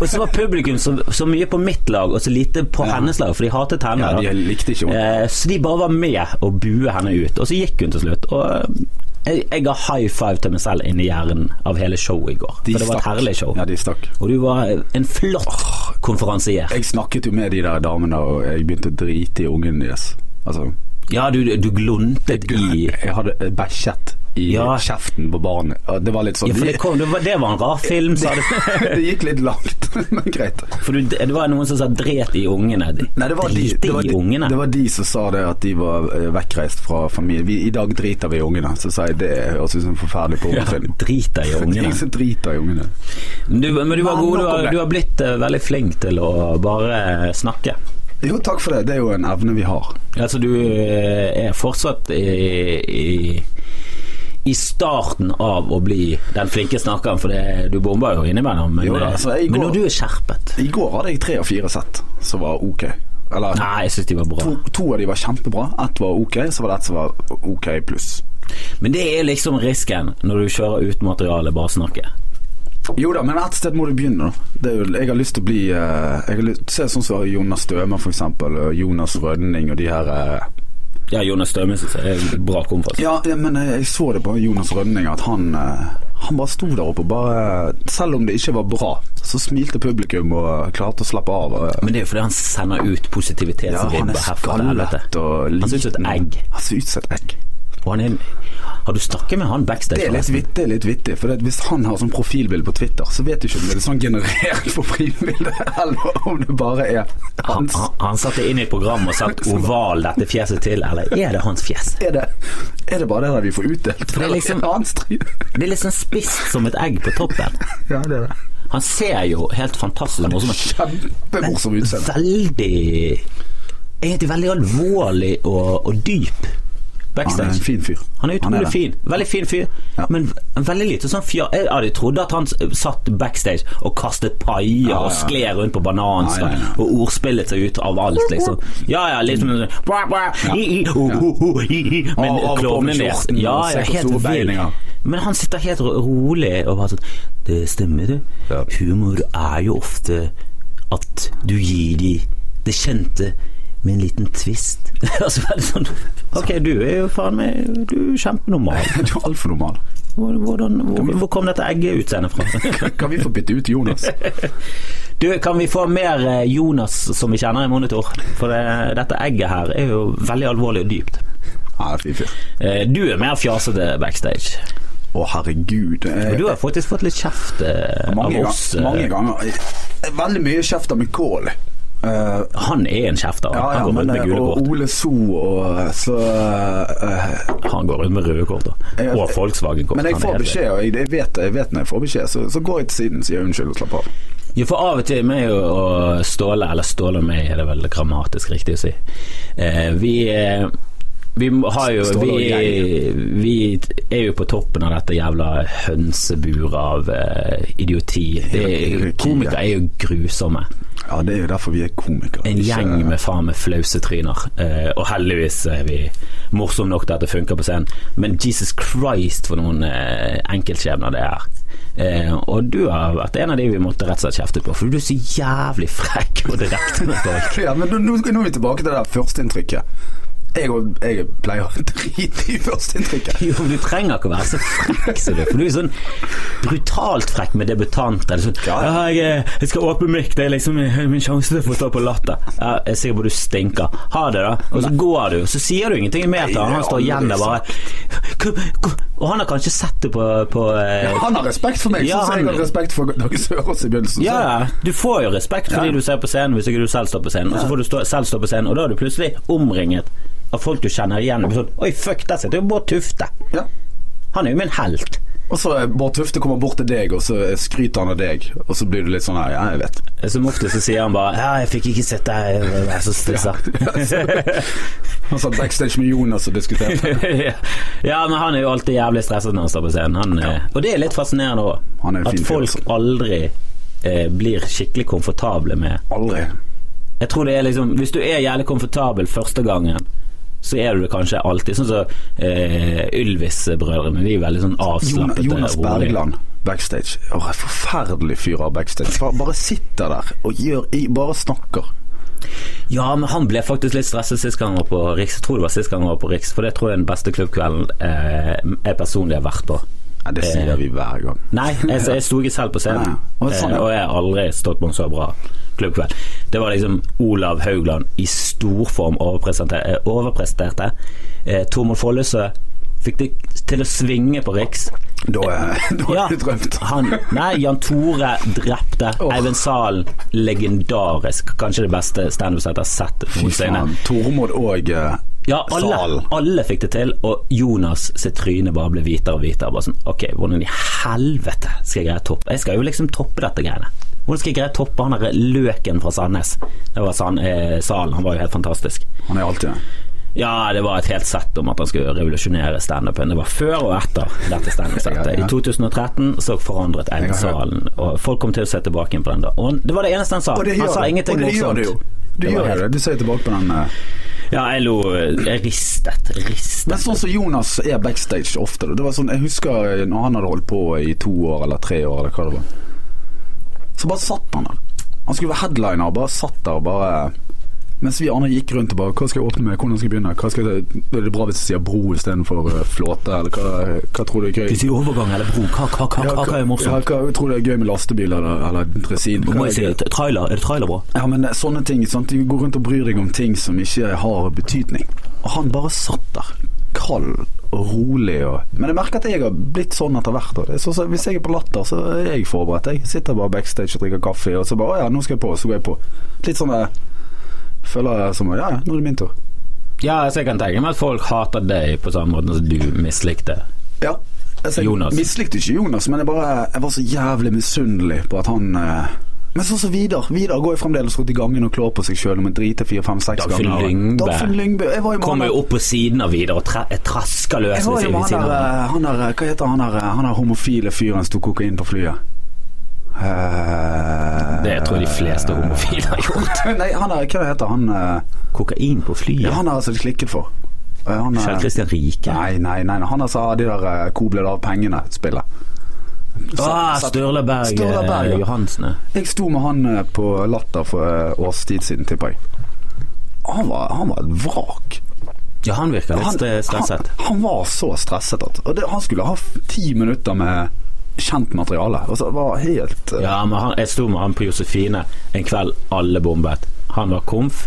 [SPEAKER 2] Og så var publikum så, så mye på mitt lag og så lite på hennes lag, for de hatet henne.
[SPEAKER 1] Ja,
[SPEAKER 2] da.
[SPEAKER 1] de likte ikke henne.
[SPEAKER 2] eh, så de bare var med og buet henne ut. Og så gikk hun til slutt. Og eh, jeg, jeg ga high five til meg selv inni hjernen av hele showet i går.
[SPEAKER 1] De
[SPEAKER 2] for det var et
[SPEAKER 1] stakk.
[SPEAKER 2] herlig show.
[SPEAKER 1] Ja, de stakk.
[SPEAKER 2] Og du var eh, en flott konferansier.
[SPEAKER 1] Jeg snakket jo med de der damene, og jeg begynte å drite i ungen deres. Altså,
[SPEAKER 2] Ja, du, du gluntet i
[SPEAKER 1] jeg hadde bæsjet i
[SPEAKER 2] Ja.
[SPEAKER 1] kjeften på barnet. Og Det var litt sånn
[SPEAKER 2] ja, for det, kom, det, var, det var en rar film, sa du.
[SPEAKER 1] det gikk litt langt, men greit.
[SPEAKER 2] For du, det var noen som sa 'dret i ungene'.
[SPEAKER 1] Nei, det var, de,
[SPEAKER 2] Drit
[SPEAKER 1] det, var
[SPEAKER 2] i
[SPEAKER 1] de,
[SPEAKER 2] ungene.
[SPEAKER 1] det var de som sa det, at de var eh, vekkreist fra familie. Vi, I dag driter vi i ungene. Så sa jeg det høres ut som en forferdelig
[SPEAKER 2] ja,
[SPEAKER 1] pornofilm.
[SPEAKER 2] drita i
[SPEAKER 1] Det er
[SPEAKER 2] ungene.
[SPEAKER 1] Ingen som driter i ungene.
[SPEAKER 2] Du, men du var
[SPEAKER 1] Men
[SPEAKER 2] god. Du
[SPEAKER 1] nok om
[SPEAKER 2] har,
[SPEAKER 1] det.
[SPEAKER 2] du har blitt eh, veldig flink til å bare eh, snakke.
[SPEAKER 1] Jo, takk for det. Det er jo en evne vi har.
[SPEAKER 2] Altså, du eh, er fortsatt i, i i starten av å bli den flinke snakkeren, for det, du bomber jo innimellom. Men,
[SPEAKER 1] Jo da,
[SPEAKER 2] eh,
[SPEAKER 1] så jeg
[SPEAKER 2] men
[SPEAKER 1] går-
[SPEAKER 2] når du er skjerpet
[SPEAKER 1] I går hadde jeg tre av fire sett som var ok. Eller
[SPEAKER 2] Nei, jeg syns de var bra.
[SPEAKER 1] to, to av de var kjempebra. Ett var ok, så var det ett som var ok pluss.
[SPEAKER 2] Men det er liksom risken når du kjører uten materiale, bare snakke.
[SPEAKER 1] Jo da, men et sted må du begynne, da. Det er jo, jeg har lyst til å bli eh, jeg har lyst, Se sånn som Jonas Stømer, for eksempel. Og Jonas Rødning og de her eh,
[SPEAKER 2] Ja, Jonas Støme syns jeg er en bra kompas.
[SPEAKER 1] Ja, ja, men jeg, jeg så det på Jonas Rønning at han eh, Han bare sto der oppe og bare Selv om det ikke var bra, så smilte publikum og klarte å slappe av. og- eh,
[SPEAKER 2] Men det er jo fordi han
[SPEAKER 1] Ja,
[SPEAKER 2] sender ut
[SPEAKER 1] han er
[SPEAKER 2] positivitetsribber herfra til helvete.
[SPEAKER 1] skallet og liten.
[SPEAKER 2] Han ser ut som et egg.
[SPEAKER 1] Han ser ut som et egg.
[SPEAKER 2] Og han er Har du snakket med han backstage?
[SPEAKER 1] Det er litt,
[SPEAKER 2] forresten?
[SPEAKER 1] vitt, det er litt vittig, for det, at hvis han har sånn profilbilde på Twitter, så vet du ikke om det er sånn generert profilbilde, eller om det bare er
[SPEAKER 2] han,
[SPEAKER 1] hans.
[SPEAKER 2] han, han satte inn i et program og satt 'oval dette fjeset til', eller er det hans fjes?
[SPEAKER 1] Er det, er det bare det der vi får utdelt?
[SPEAKER 2] det er sånn liksom-
[SPEAKER 1] Eller er det hans try-
[SPEAKER 2] Det er liksom spisst som et egg på toppen.
[SPEAKER 1] Ja, det er det.
[SPEAKER 2] Han ser jo helt fantastisk morsom ut.
[SPEAKER 1] Kjempemorsom utseende.
[SPEAKER 2] Veldig Egentlig veldig alvorlig og, og dyp
[SPEAKER 1] Han er en
[SPEAKER 2] backstage.
[SPEAKER 1] fin fyr.
[SPEAKER 2] Han er utrolig
[SPEAKER 1] det.
[SPEAKER 2] fin. Veldig fin fyr,
[SPEAKER 1] Ja.
[SPEAKER 2] men veldig lite sånn fja... Jeg hadde trodd at han s- satt backstage og kastet
[SPEAKER 1] ja,
[SPEAKER 2] paier
[SPEAKER 1] ja.
[SPEAKER 2] og skled rundt på
[SPEAKER 1] Nei,
[SPEAKER 2] bananskall
[SPEAKER 1] nei, nei.
[SPEAKER 2] og ordspillet seg ut av alt, liksom. Ja, ja, liksom bra, bra, i, i, oh, oh, oh, i, i, Men
[SPEAKER 1] Og av og på med mm,
[SPEAKER 2] klovnenes
[SPEAKER 1] skjorten og
[SPEAKER 2] Ja,
[SPEAKER 1] se
[SPEAKER 2] ja,
[SPEAKER 1] hvor
[SPEAKER 2] helt
[SPEAKER 1] store
[SPEAKER 2] vill.
[SPEAKER 1] beininger.
[SPEAKER 2] Men han sitter helt ro- rolig og bare sånn Det stemmer, du.
[SPEAKER 1] Ja.
[SPEAKER 2] Humor er jo ofte at du gir de det kjente med en liten twist. altså, bare sånn, ok, du er jo faen meg Du er kjempenormal.
[SPEAKER 1] Du er altfor normal.
[SPEAKER 2] Hvor, hvordan, hvor, hvor kom dette egget-utseendet fra?
[SPEAKER 1] Kan vi få bytte ut Jonas?
[SPEAKER 2] du, kan vi få mer eh, Jonas som vi kjenner i monitor? For det, dette egget her er jo veldig alvorlig og dypt.
[SPEAKER 1] Ja, fin fyr.
[SPEAKER 2] Eh, Du er mer fjasete backstage.
[SPEAKER 1] Å, herregud. eh,
[SPEAKER 2] Og du har faktisk fått litt kjeft eh, av
[SPEAKER 1] mange,
[SPEAKER 2] oss.
[SPEAKER 1] gang,
[SPEAKER 2] eh,
[SPEAKER 1] mange ganger. eh, Veldig mye kjeft av Michael. Eh,
[SPEAKER 2] Han er en kjefter.
[SPEAKER 1] ja, ja,
[SPEAKER 2] han, går
[SPEAKER 1] men,
[SPEAKER 2] rundt med
[SPEAKER 1] eh,
[SPEAKER 2] gule
[SPEAKER 1] og
[SPEAKER 2] kort.
[SPEAKER 1] Ole So og eh, så eh,
[SPEAKER 2] han går rundt med røde kort. da.
[SPEAKER 1] Jeg-
[SPEAKER 2] Og Volkswagen-kort.
[SPEAKER 1] Men jeg
[SPEAKER 2] Han er
[SPEAKER 1] får
[SPEAKER 2] helt-
[SPEAKER 1] beskjed, og jeg, jeg vet det. Jeg vet når jeg får beskjed, så, så går jeg til siden, sier jeg unnskyld og slapper av.
[SPEAKER 2] Ja, for av og til meg og og Ståle, eller Ståle og meg er det vel grammatisk riktig å si. Eh, vi eh, vi må- har jo
[SPEAKER 1] Ståle og
[SPEAKER 2] vi, vi er jo på toppen av dette jævla hønseburet av eh, idioti. Det,
[SPEAKER 1] Hierarki,
[SPEAKER 2] komikere er jo grusomme.
[SPEAKER 1] Ja, det er jo derfor vi er komikere.
[SPEAKER 2] En
[SPEAKER 1] ikke-
[SPEAKER 2] gjeng med faen meg flause tryner. Eh, og heldigvis er vi morsomme nok til at det funker på scenen, men Jesus Christ for noen eh, enkeltskjebner det er. Eh, og du har vært en av de vi måtte rett og slett kjefte på, for du er så jævlig frekk og direkte med folk.
[SPEAKER 1] Ja, men nå, nå nå er vi tilbake til det der førsteinntrykket. Jeg, og- jeg pleier å drite i førsteinntrykket.
[SPEAKER 2] Jo, men Du trenger ikke å være så frekk, ser du. For du er sånn brutalt frekk med debutanter. Eller sånn,
[SPEAKER 1] Ja,
[SPEAKER 2] ja, jeg, eh, 'Jeg skal åpne mic, det er liksom min min sjanse til å få stå på latter'. Ja, jeg er sikker på du stinker. Ha det, da. Og så går du. Så sier du ingenting mer til han. Han står igjen der bare «Kom, kom». Og han har kanskje sett det på, på eh,
[SPEAKER 1] Han har respekt for meg,
[SPEAKER 2] Ja,
[SPEAKER 1] sånn som jeg
[SPEAKER 2] han-
[SPEAKER 1] har respekt for Dag Sørås i begynnelsen.
[SPEAKER 2] ja, ja, du får jo respekt fordi
[SPEAKER 1] Ja.
[SPEAKER 2] du ser på scenen hvis ikke du selv står på scenen, og så får du stå, selv stå på scenen, og da er du plutselig omringet av folk du kjenner igjen. Og Sånn, Oi, fuck, der sitter jo Bård Tufte.
[SPEAKER 1] Så, ja.
[SPEAKER 2] Han er jo min helt.
[SPEAKER 1] Og så er Bård Tufte kommer bort til deg, og så skryter han av deg, og så blir du litt sånn her, ja, jeg vet.
[SPEAKER 2] Eh, Som ofte så sier han bare 'Ja, jeg fikk ikke sett deg, jeg er så stressa'.
[SPEAKER 1] Han satt backstage med Jonas og diskuterte.
[SPEAKER 2] ja, men han er jo alltid jævlig stresset når han står på scenen. Han, eh, Og det er litt fascinerende
[SPEAKER 1] Han er
[SPEAKER 2] òg.
[SPEAKER 1] en
[SPEAKER 2] At
[SPEAKER 1] fin fyr,
[SPEAKER 2] folk
[SPEAKER 1] altså.
[SPEAKER 2] aldri eh, blir skikkelig komfortable med
[SPEAKER 1] Aldri.
[SPEAKER 2] Jeg tror det er liksom Hvis du er jævlig komfortabel første gangen så er du det kanskje alltid. Sånn som eh, Ylvis-brødrene. De er veldig sånn
[SPEAKER 1] Jonas,
[SPEAKER 2] avslappede.
[SPEAKER 1] Jonas
[SPEAKER 2] og rolige.
[SPEAKER 1] Bergland backstage. Å, en forferdelig fyr av backstage. Bare, bare sitter der og gjør i- Bare snakker.
[SPEAKER 2] Ja, men han ble faktisk litt stresset sist gang han var på Riks. Jeg tror det var sist gang han var på Riks, for det tror jeg er den beste klubbkvelden eh, jeg personlig har vært på.
[SPEAKER 1] Ja,
[SPEAKER 2] Eh.
[SPEAKER 1] det sier vi hver gang.
[SPEAKER 2] Nei, jeg, jeg sto ikke selv på
[SPEAKER 1] Nei.
[SPEAKER 2] scenen,
[SPEAKER 1] Å, sånn,
[SPEAKER 2] eh,
[SPEAKER 1] ja.
[SPEAKER 2] og jeg har aldri stått på en så bra klubbkveld. Det var liksom Olav Haugland i storform overpresente- eh, overpresterte. Eh, Tormod Follesø fikk det til å svinge på Riks.
[SPEAKER 1] Da er da
[SPEAKER 2] Ja,
[SPEAKER 1] er det drømt.
[SPEAKER 2] Han, nei, Jan Tore drepte
[SPEAKER 1] Åh.
[SPEAKER 2] Eivind Salen. Legendarisk. Kanskje det beste standup-settet jeg har sett
[SPEAKER 1] Fy
[SPEAKER 2] noensinne.
[SPEAKER 1] faen. Tormod og eh,
[SPEAKER 2] Ja, alle,
[SPEAKER 1] Salen.
[SPEAKER 2] alle fikk det til, og Jonas sitt tryne bare ble hvitere og hvitere. Bare sånn, ok, Hvordan i helvete skal jeg greie å toppe Jeg skal jo liksom toppe dette greiene. Hvordan skal jeg greie å toppe han der løken fra Sandnes? Det var San, eh, Salen, han var jo helt fantastisk.
[SPEAKER 1] Han er alltid det.
[SPEAKER 2] Ja, det var et helt sett om at han skulle revolusjonere standupen. Det var før og etter dette standup-settet. I 2013 så forandret Eivind
[SPEAKER 1] Jeg har
[SPEAKER 2] Salen, og folk kom til å se tilbake igjen på den. da. Og han- det var det eneste han sa.
[SPEAKER 1] Og det
[SPEAKER 2] Han
[SPEAKER 1] gjør
[SPEAKER 2] sa
[SPEAKER 1] du.
[SPEAKER 2] ingenting
[SPEAKER 1] Og det gjør
[SPEAKER 2] morsomt.
[SPEAKER 1] du jo. Du
[SPEAKER 2] Det var
[SPEAKER 1] gjør
[SPEAKER 2] helt-
[SPEAKER 1] det. Du ser tilbake på den eh.
[SPEAKER 2] Ja, jeg lo eh, Jeg ristet, ristet.
[SPEAKER 1] Men sånn som Jonas er backstage ofte. da. Det var sånn, Jeg husker eh, når han hadde holdt på i to år eller tre år, eller hva det var. Så bare satt han der. Han skulle være headliner, bare satt der og bare eh, Mens vi andre gikk rundt og bare Hva skal jeg åpne med? Hvordan skal jeg begynne? Hva skal jeg, er det bra hvis jeg sier bro istedenfor eh, flåte? Eller hva, hva tror du er gøy?
[SPEAKER 2] Du sier overgang eller bro, hva, hva, hva, hva, hva er
[SPEAKER 1] Ja,
[SPEAKER 2] morsomt?
[SPEAKER 1] hva tror du er gøy med lastebiler eller, eller dresin?
[SPEAKER 2] Må
[SPEAKER 1] Hva er
[SPEAKER 2] jeg si
[SPEAKER 1] gøy?
[SPEAKER 2] det? Trailer, er det trailer bra?
[SPEAKER 1] Ja, men eh, sånne ting, sant? Du går rundt og bryr deg om ting som ikke har betydning. Og han bare satt der, kald og rolig. Og... Men jeg merker at jeg har blitt sånn etter hvert. Og det er sånn som- hvis jeg er på latter, så er jeg forberedt. Jeg sitter bare backstage og drikker kaffe, og så bare 'Å ja, nå skal jeg på', så går jeg på. Litt sånn eh, Føler jeg som Ja, ja, nå er det min tur.
[SPEAKER 2] Ja, altså jeg kan tenke meg at folk hater deg på samme måte som du mislikte
[SPEAKER 1] Ja. Altså, jeg
[SPEAKER 2] Jonas.
[SPEAKER 1] mislikte ikke Jonas, men jeg, bare, jeg var så jævlig misunnelig på at han eh, Men sånn som Vidar. Vidar går jo fremdeles rundt i gangen og klår på seg sjøl om en driter fire-fem-seks
[SPEAKER 2] Dagfinn
[SPEAKER 1] ganger.
[SPEAKER 2] Lyngbø.
[SPEAKER 1] Dagfinn Lyngbø. Jeg var jo med han
[SPEAKER 2] Kommer
[SPEAKER 1] der-
[SPEAKER 2] jo opp på siden av Vidar og tra eh, trasker løs
[SPEAKER 1] jeg var jo
[SPEAKER 2] ved
[SPEAKER 1] med
[SPEAKER 2] siden
[SPEAKER 1] han
[SPEAKER 2] av ham.
[SPEAKER 1] der, eh, han der eh, Hva heter han der, eh, han der homofile fyren som tok kokain på flyet? Eh,
[SPEAKER 2] Det tror jeg de fleste homofile har gjort.
[SPEAKER 1] Nei, han der, hva heter han eh,
[SPEAKER 2] Kokain på flyet.
[SPEAKER 1] Han er altså klikket for. Eh, Han, eh,
[SPEAKER 2] Kjell Kristian Rike.
[SPEAKER 1] Nei, nei, nei. nei. Han er sa de der eh, 'Hvor ble det av pengene?'-spillet.
[SPEAKER 2] Ah, Sturla Berg,
[SPEAKER 1] Sturla Berg, ja.
[SPEAKER 2] eh, Johansen. ja.
[SPEAKER 1] Jeg sto med han eh, på Latter for eh, års tid siden, tipper jeg. Han var, han var et vrak.
[SPEAKER 2] Ja, han virker litt
[SPEAKER 1] Han,
[SPEAKER 2] stre- stresset.
[SPEAKER 1] Han, han var så stresset at og det, Han skulle ha f- ti minutter med kjent materiale. Og så var helt eh,
[SPEAKER 2] Ja, men han, jeg sto med han på Josefine en kveld alle bombet. Han var komf.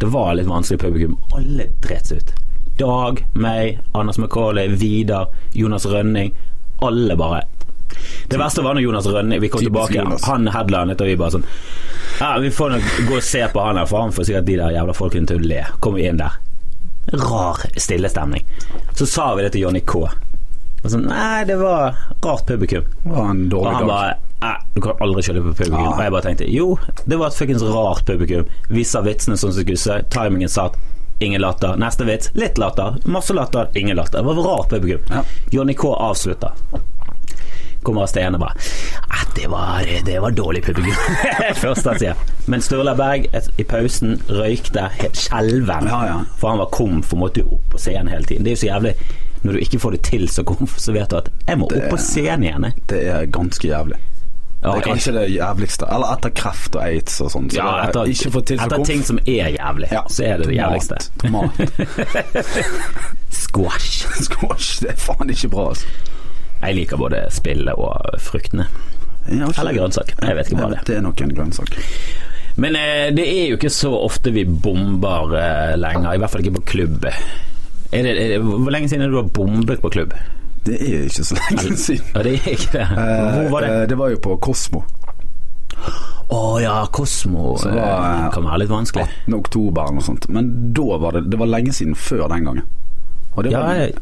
[SPEAKER 2] Det var litt vanskelig publikum. Alle dret seg ut. Dag, meg, Anders McCauley, Vidar, Jonas Rønning. Alle bare Det verste var når Jonas Rønning Vi kom
[SPEAKER 1] Typisk
[SPEAKER 2] tilbake,
[SPEAKER 1] Jonas.
[SPEAKER 2] han headlandet, og vi bare sånn Ja, vi får nok gå og se på han her, for han får sikkert de der jævla folkene til å le. Kommer vi inn der. Rar stillestemning. Så sa vi det til Johnny K. Og sånn, Nei, det var rart publikum.
[SPEAKER 1] var en
[SPEAKER 2] Og
[SPEAKER 1] dårlig
[SPEAKER 2] han
[SPEAKER 1] dag.
[SPEAKER 2] bare "Æ, du kan aldri skylde på publikum.
[SPEAKER 1] Ja.
[SPEAKER 2] Og jeg bare tenkte jo, det var et fuckings rart publikum. Vi sa vitsene som skulle se, timingen satt. Ingen latter. Neste vits, litt latter. Masse latter, ingen latter. Det var et rart publikum.
[SPEAKER 1] Ja.
[SPEAKER 2] Johnny K avslutta. Kommer av sted og bare "Æ, det var, det var dårlig publikum. Først han sier. Men Sturla Berg et, i pausen røykte helt skjelven.
[SPEAKER 1] Ja, ja.
[SPEAKER 2] For han var komf og måtte jo opp på scenen hele tiden. Det er jo så jævlig Når du ikke får det til så komf, så vet du at 'jeg må opp på scenen igjen'. jeg."
[SPEAKER 1] Det er ganske jævlig.
[SPEAKER 2] Ja,
[SPEAKER 1] det er kanskje det jævligste. Eller etter kreft og aids og sånt. Så
[SPEAKER 2] Ja,
[SPEAKER 1] det er
[SPEAKER 2] etter,
[SPEAKER 1] ikke få til så
[SPEAKER 2] etter
[SPEAKER 1] komf.
[SPEAKER 2] ting som er jævlig,
[SPEAKER 1] Ja,
[SPEAKER 2] så er det det
[SPEAKER 1] tomat,
[SPEAKER 2] jævligste.
[SPEAKER 1] Tomat.
[SPEAKER 2] Squash.
[SPEAKER 1] Squash, det er faen ikke bra, altså.
[SPEAKER 2] Jeg liker både spillet og fruktene.
[SPEAKER 1] Ja, ikke-
[SPEAKER 2] Eller grønnsak. Jeg vet ikke hva det er.
[SPEAKER 1] Det er nok en grønnsak.
[SPEAKER 2] Men eh, det er jo ikke så ofte vi bomber eh, lenger, i hvert fall ikke på klubb. Er det, er det, hvor lenge siden er det du har bombet på klubb?
[SPEAKER 1] Det er ikke så lenge siden.
[SPEAKER 2] Ja, det er ikke det.
[SPEAKER 1] Eh,
[SPEAKER 2] Hvor var det?
[SPEAKER 1] eh, det var jo på Kosmo.
[SPEAKER 2] Å ja, Kosmo.
[SPEAKER 1] Så
[SPEAKER 2] eh,
[SPEAKER 1] var, eh,
[SPEAKER 2] kan være litt vanskelig.
[SPEAKER 1] 18. oktober eller noe sånt. Men da var det Det var lenge siden før den gangen. Og det
[SPEAKER 2] Ja,
[SPEAKER 1] var,
[SPEAKER 2] jeg,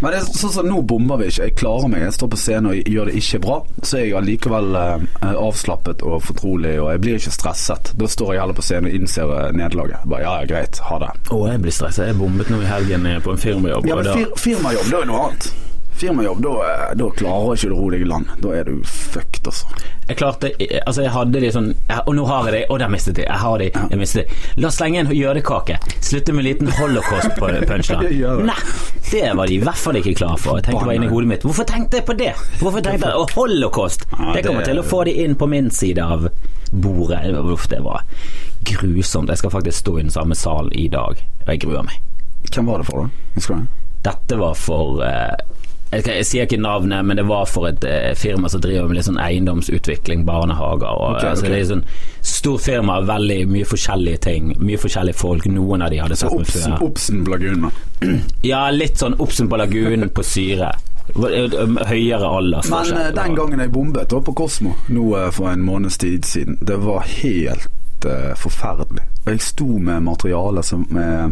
[SPEAKER 1] Men det er sånn som nå bomber vi ikke. Jeg klarer meg. Jeg står på scenen og gjør det ikke bra. Så er jeg allikevel eh, avslappet og fortrolig, og jeg blir ikke stresset. Da står jeg heller på scenen og innser eh, nederlaget. Bare ja, ja, greit. Ha det.
[SPEAKER 2] å, jeg blir stressa. Jeg bombet nå i helgen eh, på en firmajobb.
[SPEAKER 1] Ja,
[SPEAKER 2] og
[SPEAKER 1] men
[SPEAKER 2] da-
[SPEAKER 1] fir firmajobb, da er det noe annet. Firmajobb, da, eh, da klarer ikke du ro deg i land. Da er du fucked, altså.
[SPEAKER 2] Jeg klarte Altså, jeg hadde de sånn jeg, Og nå har jeg de, og der mistet de. Jeg har de, jeg mistet de. La oss slenge en jødekake. Slutte med en liten
[SPEAKER 1] Jeg gjør
[SPEAKER 2] holocaust-punchline.
[SPEAKER 1] det.
[SPEAKER 2] Nei, det var de i hvert fall ikke klare for. Jeg tenkte bare inni hodet mitt Hvorfor tenkte jeg på det? Hvorfor tenkte jeg Og holocaust!
[SPEAKER 1] Ja,
[SPEAKER 2] Det kommer
[SPEAKER 1] det-
[SPEAKER 2] til å få de inn på min side av bordet. Uff, det var grusomt. Jeg skal faktisk stå i den samme salen i dag, og jeg gruer meg.
[SPEAKER 1] Hvem var det for, da? Husker du? det?
[SPEAKER 2] Dette var for eh, jeg, skal- jeg sier ikke navnet, men det var for et eh, firma som driver med litt sånn eiendomsutvikling, barnehager og
[SPEAKER 1] Ok,
[SPEAKER 2] altså,
[SPEAKER 1] ok.
[SPEAKER 2] Det er sånn stort firma, veldig mye forskjellige ting, mye forskjellige folk. Noen av de hadde sett meg
[SPEAKER 1] Obsen,
[SPEAKER 2] før.
[SPEAKER 1] Obsen Lagun, da.
[SPEAKER 2] Ja, litt sånn Obsen på lagunen på syre. eh, um, Høyere alder.
[SPEAKER 1] Men
[SPEAKER 2] forskjell.
[SPEAKER 1] eh, den gangen jeg bombet da på Kosmo, nå eh, for en måneds tid siden, det var helt eh, forferdelig. Og Jeg sto med materiale som eh,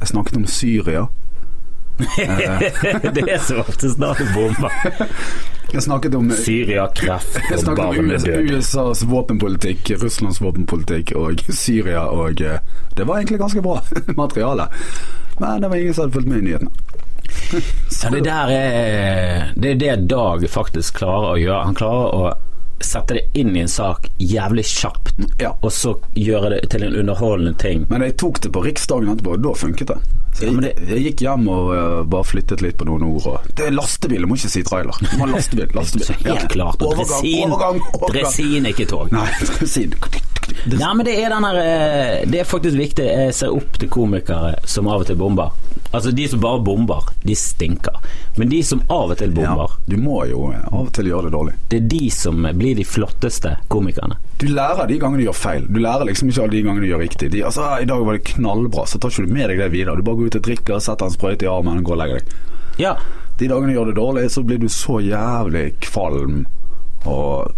[SPEAKER 1] Jeg snakket om Syria.
[SPEAKER 2] det er så ofte snart bomber.
[SPEAKER 1] Jeg snakket om
[SPEAKER 2] Syria, kreft
[SPEAKER 1] jeg
[SPEAKER 2] og
[SPEAKER 1] snakket om US,
[SPEAKER 2] barnedød.
[SPEAKER 1] USAs våpenpolitikk, Russlands våpenpolitikk og Syria og eh, Det var egentlig ganske bra materiale. Men det var ingen som hadde fulgt med i nyhetene.
[SPEAKER 2] Ja, det der er Det er det Dag faktisk klarer å gjøre. Han klarer å sette det inn i en sak jævlig kjapt,
[SPEAKER 1] Ja.
[SPEAKER 2] og så gjøre det til en underholdende ting.
[SPEAKER 1] Men jeg tok det på Riksdagen etterpå, og da funket det. Så
[SPEAKER 2] Ja,
[SPEAKER 1] jeg,
[SPEAKER 2] men det-
[SPEAKER 1] jeg gikk hjem og eh, bare flyttet litt på noen ord. Og, det er lastebil, du må ikke si trailer. Du må ha lastebil, lastebil.
[SPEAKER 2] Så helt
[SPEAKER 1] Ja.
[SPEAKER 2] klart. Og
[SPEAKER 1] Overgang,
[SPEAKER 2] dresin,
[SPEAKER 1] overgang, overgang.
[SPEAKER 2] dresin er ikke tog.
[SPEAKER 1] Nei, dresin.
[SPEAKER 2] Ja, men det er den der eh, Det er faktisk viktig. Jeg ser opp til komikere som av og til bomber. Altså, de som bare bomber, de stinker. Men de som av og til
[SPEAKER 1] Ja,
[SPEAKER 2] bomber,
[SPEAKER 1] du må jo eh, av og til gjøre det dårlig.
[SPEAKER 2] det er de som blir de flotteste komikerne.
[SPEAKER 1] Du lærer de gangene du gjør feil. Du lærer liksom ikke alle de gangene du gjør riktig. De, altså, «Ah, I dag var det knallbra, så tar ikke du med deg det videre. Du bare går ut og drikker, setter en sprøyte i armen og går og legger deg.
[SPEAKER 2] Ja,
[SPEAKER 1] De dagene du gjør det dårlig, så blir du så jævlig kvalm og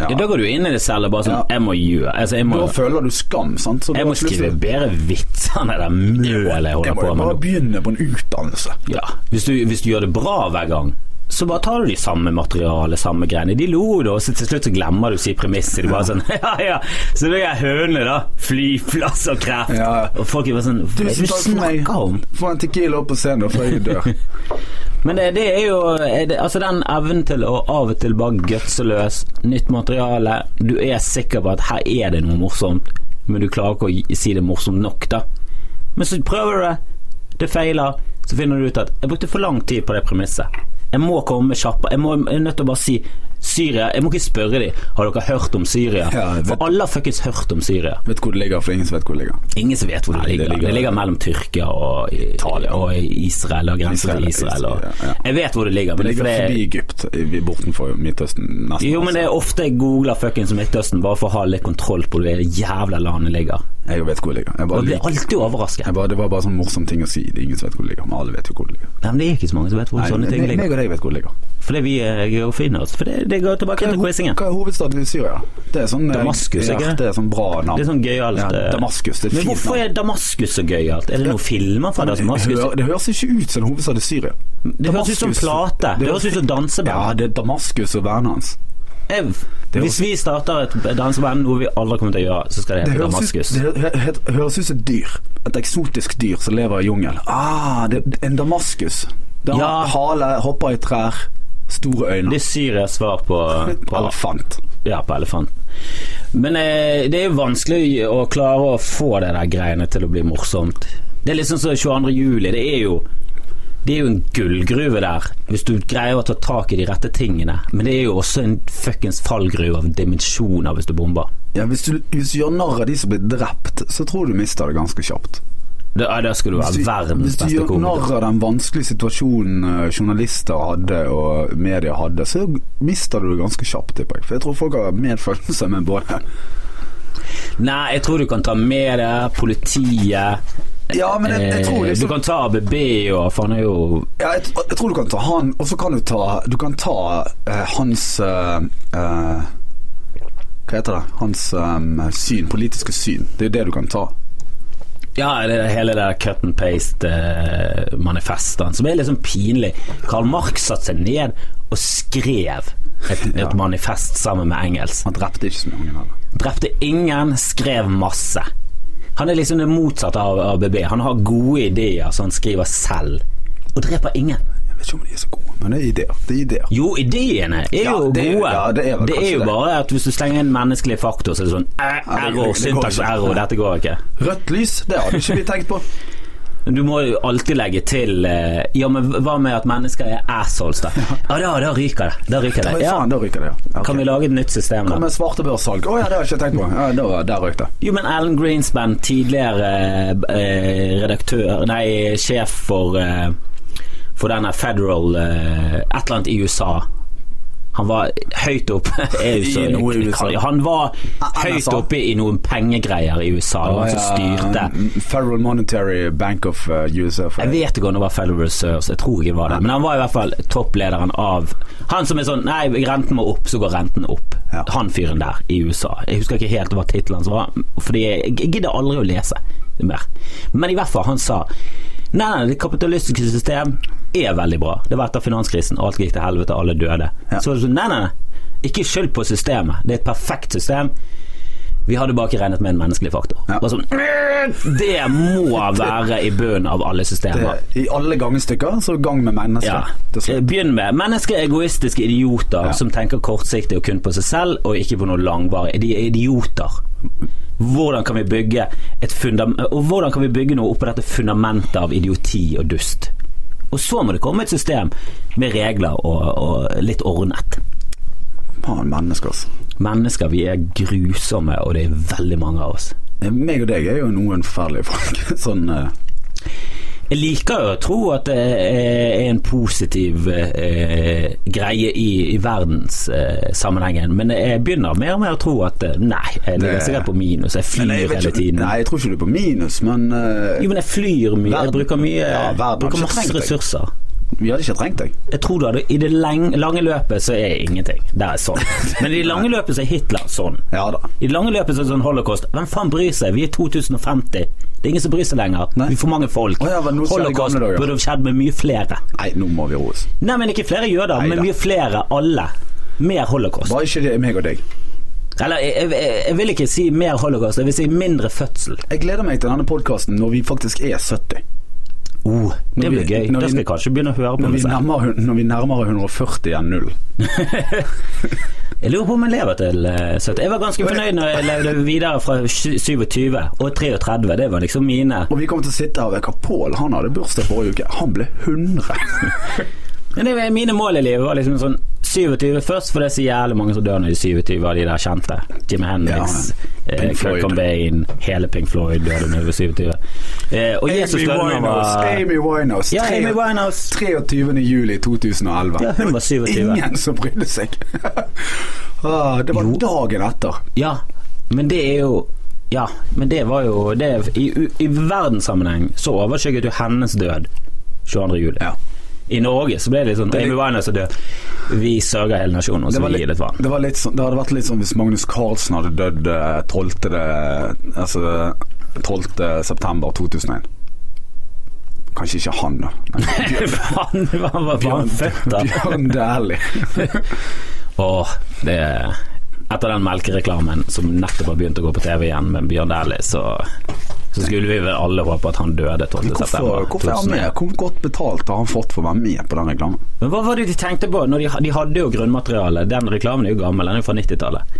[SPEAKER 2] ja. Da går du inn i det selv og bare sånn
[SPEAKER 1] Ja.
[SPEAKER 2] Jeg må gjøre altså, jeg må,
[SPEAKER 1] Da føler du skam, sant? Så du
[SPEAKER 2] Jeg
[SPEAKER 1] har
[SPEAKER 2] må skrive
[SPEAKER 1] plutselig-
[SPEAKER 2] bedre vitser enn det der mølet jeg
[SPEAKER 1] Jeg
[SPEAKER 2] holder
[SPEAKER 1] må
[SPEAKER 2] på
[SPEAKER 1] jo
[SPEAKER 2] med.
[SPEAKER 1] bare
[SPEAKER 2] nå.
[SPEAKER 1] begynne på en utdannelse.
[SPEAKER 2] Ja, hvis du, hvis du gjør det bra hver gang, så bare tar du de samme materialet, samme greiene. De lo da, og så til slutt så glemmer du å si premisset. Du bare sånn Ja, ja. Så det er hønene, da. Flyplass og kreft.
[SPEAKER 1] Ja, ja.
[SPEAKER 2] Og folk er bare sånn Hva er det
[SPEAKER 1] Tusen
[SPEAKER 2] du
[SPEAKER 1] takk for meg.
[SPEAKER 2] snakker om?
[SPEAKER 1] Få en Tequila opp på scenen, da, før jeg dør.
[SPEAKER 2] Men det, det er jo er det, Altså den evnen til å av og til bare gutse løs, nytt materiale Du er sikker på at her er det noe morsomt, men du klarer ikke å gi- si det morsomt nok, da. Men så prøver du det, det feiler, så finner du ut at 'jeg brukte for lang tid på det premisset'. Jeg må komme kjappere. Jeg, må, jeg er nødt til å bare si Syria Jeg må ikke spørre dem Har dere hørt om Syria.
[SPEAKER 1] Ja, jeg vet-
[SPEAKER 2] For alle har fuckings hørt om Syria.
[SPEAKER 1] Vet hvor det ligger, for ingen som vet hvor det ligger.
[SPEAKER 2] Ingen som vet hvor det,
[SPEAKER 1] Nei, det
[SPEAKER 2] ligger. det
[SPEAKER 1] ligger-
[SPEAKER 2] ligger. mellom Tyrkia og, og Israel, og grensen til
[SPEAKER 1] Israel,
[SPEAKER 2] Israel. Og,
[SPEAKER 1] ja, ja.
[SPEAKER 2] Jeg vet hvor det ligger. Men
[SPEAKER 1] Det
[SPEAKER 2] det er
[SPEAKER 1] ligger
[SPEAKER 2] fordi-
[SPEAKER 1] forbi Egypt, i- bortenfor Midtøsten. Nesten. altså.
[SPEAKER 2] jo, men det er ofte jeg googler fuckings Midtøsten bare for å ha litt kontroll på hvor det jævla landet ligger.
[SPEAKER 1] Jeg vet hvor det ligger. Jeg bare
[SPEAKER 2] Og jeg blir
[SPEAKER 1] liker-
[SPEAKER 2] alltid overrasket.
[SPEAKER 1] jeg bare, det var bare sånn morsom ting å si. Det er Ingen som vet hvor det ligger, men alle vet jo hvor det ligger.
[SPEAKER 2] Nei, men det er ikke så mange som vet hvor
[SPEAKER 1] Nei,
[SPEAKER 2] sånne ting
[SPEAKER 1] meg-
[SPEAKER 2] ligger.
[SPEAKER 1] meg og deg vet hvor det ligger.
[SPEAKER 2] Fordi vi er geofiners. For det, det går tilbake til quizingen.
[SPEAKER 1] Hva er hovedstaden i Syria? Det er sånn eh,
[SPEAKER 2] Damaskus,
[SPEAKER 1] ja,
[SPEAKER 2] ikke det?
[SPEAKER 1] Det er sånn bra navn.
[SPEAKER 2] Det er sånn gøyalt.
[SPEAKER 1] Ja,
[SPEAKER 2] eh.
[SPEAKER 1] Damaskus, det er et
[SPEAKER 2] Men
[SPEAKER 1] fint
[SPEAKER 2] hvorfor
[SPEAKER 1] navn.
[SPEAKER 2] er Damaskus så gøyalt? Er det noen filmer fra
[SPEAKER 1] Det,
[SPEAKER 2] Damaskus?
[SPEAKER 1] hører, det høres ikke ut som en hovedstad i Syria.
[SPEAKER 2] Det høres ut som
[SPEAKER 1] Damaskus-
[SPEAKER 2] plate. Det høres ut som
[SPEAKER 1] Ja,
[SPEAKER 2] danseband.
[SPEAKER 1] det er Damaskus og bandet hans.
[SPEAKER 2] Jeg-
[SPEAKER 1] høres-
[SPEAKER 2] Hvis vi starter et danseband, noe vi aldri kommer til å gjøre, så skal det
[SPEAKER 1] Det
[SPEAKER 2] hete
[SPEAKER 1] høres, ut,
[SPEAKER 2] Damaskus.
[SPEAKER 1] det hø- hø- høres ut som et dyr. Et eksotisk dyr som lever i jungel. Ah, det, en damaskus. Da
[SPEAKER 2] Ja.
[SPEAKER 1] Hale hopper i trær, store øyne.
[SPEAKER 2] Det er Syrias svar på, på
[SPEAKER 1] Elefant.
[SPEAKER 2] Ja, på elefanten. Men eh, det er jo vanskelig å klare å få det der greiene til å bli morsomt. Det er liksom som 22. juli. Det er jo det er jo en gullgruve der, hvis du greier å ta tak i de rette tingene. Men det er jo også en fuckings fallgruve av dimensjoner hvis du bomber.
[SPEAKER 1] Ja, hvis, du, hvis du gjør narr av de som blir drept, så tror jeg du mister det ganske kjapt.
[SPEAKER 2] Da, ja, da skal du
[SPEAKER 1] Hvis
[SPEAKER 2] være
[SPEAKER 1] du,
[SPEAKER 2] verdens
[SPEAKER 1] hvis du
[SPEAKER 2] beste
[SPEAKER 1] gjør narr av
[SPEAKER 2] komiker.
[SPEAKER 1] den vanskelige situasjonen eh, journalister hadde og media hadde, så mister du det ganske kjapt, tipper jeg. For jeg tror folk har medfølelse med både
[SPEAKER 2] Nei, jeg tror du kan ta med det, politiet
[SPEAKER 1] Ja, men jeg, jeg tror
[SPEAKER 2] eh, Du
[SPEAKER 1] liksom
[SPEAKER 2] kan ta ABB og faen er jo
[SPEAKER 1] Ja, jeg, jeg tror du kan ta han, og så kan du ta Du kan ta eh, hans eh, eh, Hva heter det? Hans eh, syn, politiske syn. Det er jo det du kan ta.
[SPEAKER 2] Ja, det er hele det der cut and paste-manifestene, som er litt sånn pinlig. Karl Marx satte seg ned og skrev et, et
[SPEAKER 1] Ja.
[SPEAKER 2] manifest sammen med Engels.
[SPEAKER 1] Han drepte ikke så mange heller.
[SPEAKER 2] Drepte ingen, skrev masse. Han er liksom det motsatte av ABB. Han har gode ideer, så han skriver selv. Og dreper ingen.
[SPEAKER 1] Jeg vet ikke om de er så gode, men det er ideer. Det er ideer.
[SPEAKER 2] Jo, ideene er
[SPEAKER 1] Ja,
[SPEAKER 2] jo
[SPEAKER 1] det er-
[SPEAKER 2] gode.
[SPEAKER 1] ja, det er vel kanskje
[SPEAKER 2] jo
[SPEAKER 1] det.
[SPEAKER 2] bare at hvis du slenger inn menneskelig faktor, så er det sånn eh,
[SPEAKER 1] Ja, det-
[SPEAKER 2] error,
[SPEAKER 1] det går
[SPEAKER 2] syntaks
[SPEAKER 1] ikke.
[SPEAKER 2] error, dette går ikke.
[SPEAKER 1] Rødt lys, det hadde ikke vi tenkt på.
[SPEAKER 2] Men Du må jo alltid legge til eh, Ja, men hva med at mennesker er assholes, da? Ja, da, da ryker det. Da ryker det.
[SPEAKER 1] Oi,
[SPEAKER 2] Ja,
[SPEAKER 1] faen, da ryker det, ja.
[SPEAKER 2] kan vi lage et nytt system,
[SPEAKER 1] Hva
[SPEAKER 2] da?
[SPEAKER 1] med svartebørssalg? Å ja, det har jeg ikke tenkt på. Ja, da, der røyk det.
[SPEAKER 2] Jo, men Alan Greenspan, tidligere eh, redaktør Nei, sjef for eh, For denne Federal eh, Et eller annet i USA. Han var høyt oppe
[SPEAKER 1] I noe i USA.
[SPEAKER 2] Han var
[SPEAKER 1] A-
[SPEAKER 2] høyt
[SPEAKER 1] NSA.
[SPEAKER 2] oppe i noen pengegreier i USA. Det var Han som styrte.
[SPEAKER 1] styrte. Altså, eh, Federal Monetary Bank of eh, USA. for-
[SPEAKER 2] Jeg vet ikke om det var Federal Reserves, jeg tror ikke det var det. Men han var i hvert fall topplederen av Han som er sånn Nei, renten må opp, så går renten opp.
[SPEAKER 1] Ja.
[SPEAKER 2] Han fyren der i USA. Jeg husker ikke helt hva tittelen hans var, fordi jeg jeg gidder aldri å lese mer. Men i hvert fall, han sa Nei, nei, det kapitalistiske system er veldig bra. Det var etter finanskrisen, alt gikk til helvete, alle døde.
[SPEAKER 1] Ja.
[SPEAKER 2] Så var det sånn Nei, nei, nei. Ikke skyld på systemet. Det er et perfekt system. Vi hadde bare ikke regnet med en menneskelig faktor.
[SPEAKER 1] Ja.
[SPEAKER 2] Bare sånn, det må være i bunnen av alle systemer.
[SPEAKER 1] Det- I alle gangestykker så gang med mennesker.
[SPEAKER 2] Ja.
[SPEAKER 1] Til slutt.
[SPEAKER 2] Begynn med mennesker er egoistiske idioter
[SPEAKER 1] Ja.
[SPEAKER 2] som tenker kortsiktig og kun på seg selv, og ikke på noe langvarig. De er idioter. Hvordan kan vi bygge et fundam Og hvordan kan vi bygge noe oppå dette fundamentet av idioti og dust? Og så må det komme et system med regler og, og litt ordnet.
[SPEAKER 1] Faen, mennesker, altså.
[SPEAKER 2] Mennesker, vi er grusomme, og det er veldig mange av oss.
[SPEAKER 1] Eh, Meg og deg er jo noen forferdelige folk. Sånn eh,
[SPEAKER 2] Jeg liker jo å tro at det er en positiv eh, greie i, i verdenssammenhengen, men jeg begynner mer og mer å tro at eh, nei, jeg ligger
[SPEAKER 1] Det-
[SPEAKER 2] sikkert på minus. Jeg
[SPEAKER 1] men jeg
[SPEAKER 2] flyr
[SPEAKER 1] vet
[SPEAKER 2] hele
[SPEAKER 1] ikke-
[SPEAKER 2] tiden.
[SPEAKER 1] Nei, jeg tror ikke du er på minus, men eh,
[SPEAKER 2] Jo, men jeg flyr mye.
[SPEAKER 1] Verden-
[SPEAKER 2] Jeg bruker mye
[SPEAKER 1] Ja, verden har
[SPEAKER 2] bruker
[SPEAKER 1] ikke
[SPEAKER 2] masse
[SPEAKER 1] trengt deg.
[SPEAKER 2] ressurser.
[SPEAKER 1] vi hadde ikke trengt deg.
[SPEAKER 2] Jeg tror da det, i det leng, lange løpet så er jeg ingenting. Det er sånn. Men i det lange løpet så er Hitler sånn.
[SPEAKER 1] Ja da.
[SPEAKER 2] I det lange løpet så er det sånn holocaust. Hvem faen bryr seg? Vi er 2050. Det er ingen som bryr seg lenger.
[SPEAKER 1] Nei.
[SPEAKER 2] Vi får mange folk.
[SPEAKER 1] Å ja, men nå skjer det i
[SPEAKER 2] Holocaust
[SPEAKER 1] gamle dager.
[SPEAKER 2] burde skjedd med mye flere.
[SPEAKER 1] Nei, nå må vi roe oss.
[SPEAKER 2] Nei, men ikke flere jøder, men
[SPEAKER 1] Neida.
[SPEAKER 2] mye flere. Alle. Mer holocaust.
[SPEAKER 1] Bare ikke det er meg og deg.
[SPEAKER 2] Eller jeg, jeg, jeg vil ikke si mer holocaust, jeg vil si mindre fødsel.
[SPEAKER 1] Jeg gleder meg til denne podkasten når vi faktisk er 70.
[SPEAKER 2] Oh,
[SPEAKER 1] Når
[SPEAKER 2] det
[SPEAKER 1] vi-
[SPEAKER 2] blir gøy.
[SPEAKER 1] når
[SPEAKER 2] Da
[SPEAKER 1] vi-
[SPEAKER 2] skal jeg kanskje begynne å høre på
[SPEAKER 1] Når vi
[SPEAKER 2] musikk.
[SPEAKER 1] nærmer, når vi nærmer 140 enn null.
[SPEAKER 2] Jeg lurer på om jeg lever til eh, 70. Jeg var ganske fornøyd når jeg levde videre fra 27 og 33. Det var liksom mine
[SPEAKER 1] Og vi kommer til å sitte her og vekke Pål. Han hadde bursdag forrige uke. Han ble 100.
[SPEAKER 2] Men det var mine mål i livet var liksom sånn 27 først, for det er så jævlig mange som dør når de er 27 av de der kjente. Jim Hendrix, eh,
[SPEAKER 1] Pink
[SPEAKER 2] Kurt
[SPEAKER 1] Floyd.
[SPEAKER 2] Cobain, hele Pink Floyd døde når de var 27. Eh, og Jesus døde når han var
[SPEAKER 1] Amy Winehouse.
[SPEAKER 2] Ja,
[SPEAKER 1] Tre-
[SPEAKER 2] Amy Winehouse.
[SPEAKER 1] 23. juli 2011.
[SPEAKER 2] Ja, hun var 27.
[SPEAKER 1] Ingen som brydde seg. ah, det var
[SPEAKER 2] Jo.
[SPEAKER 1] dagen etter.
[SPEAKER 2] Ja, men det er jo Ja, men det var jo det, i, I verdenssammenheng så overskygget jo hennes død 22. juli.
[SPEAKER 1] Ja.
[SPEAKER 2] I Norge så ble det litt sånn
[SPEAKER 1] Det er
[SPEAKER 2] Amy Winehouse er død. Vi sørger hele nasjonen, og
[SPEAKER 1] Det
[SPEAKER 2] så
[SPEAKER 1] var
[SPEAKER 2] vi gir
[SPEAKER 1] litt,
[SPEAKER 2] litt vann.
[SPEAKER 1] det, var litt sånn, det hadde vært litt sånn hvis Magnus Carlsen hadde dødd eh, 12. det- Altså 12. september 2001. Kanskje ikke han, da. men
[SPEAKER 2] Faen, hva var
[SPEAKER 1] Bjørn-
[SPEAKER 2] han født da?
[SPEAKER 1] Bjørn Dæhlie.
[SPEAKER 2] Åh, det Etter den melkereklamen som nettopp har begynt å gå på TV igjen med Bjørn Dæhlie, så, så skulle vi vel alle håpe at han døde 12.
[SPEAKER 1] Hvorfor,
[SPEAKER 2] september.
[SPEAKER 1] hvorfor er han
[SPEAKER 2] 2001.
[SPEAKER 1] med? Hvor godt betalt har han fått for å være med på den reklamen?
[SPEAKER 2] Men hva var det de tenkte på? Når de, de hadde jo grunnmateriale. Den reklamen er jo gammel, den er jo fra 90-tallet.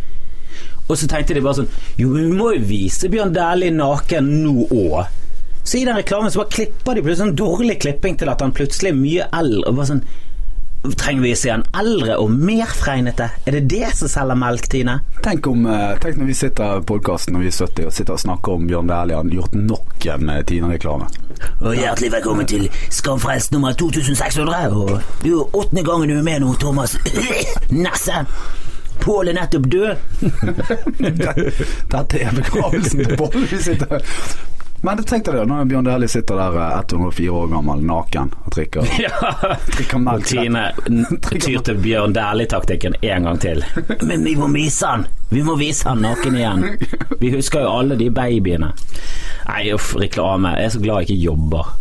[SPEAKER 2] Og så tenkte de bare sånn Jo, men vi må jo vise Bjørn Dæhlie naken nå òg. Så i den reklamen så bare klipper de plutselig sånn dårlig klipping til at han plutselig er mye eldre. Og bare sånn Trenger vi å se han eldre og mer fregnete? Er det det som selger melk, Tine?
[SPEAKER 1] Tenk, om, eh, tenk når vi sitter i podkasten når vi er 70 og sitter og snakker om Bjørn Dæhlie. Han har gjort nok en eh, Tina-reklame.
[SPEAKER 2] Og hjertelig velkommen til Skamfrelst nummer 2600. Og det er jo åttende gangen du er med nå, Thomas Nesse. Pål er nettopp død.
[SPEAKER 1] Dette er begravelsen til Bolle. Vi sitter Men tenk deg det, når Bjørn Dæhlie sitter der eh, 104 år gammel, naken og drikker,
[SPEAKER 2] Ja.
[SPEAKER 1] drikker
[SPEAKER 2] Og
[SPEAKER 1] melk.
[SPEAKER 2] Tine n- tyr til Bjørn Dæhlie-taktikken en gang til. Men vi må vise han! Vi må vise han naken igjen. Vi husker jo alle de babyene. Nei, uff, reklame. Jeg er så glad jeg ikke jobber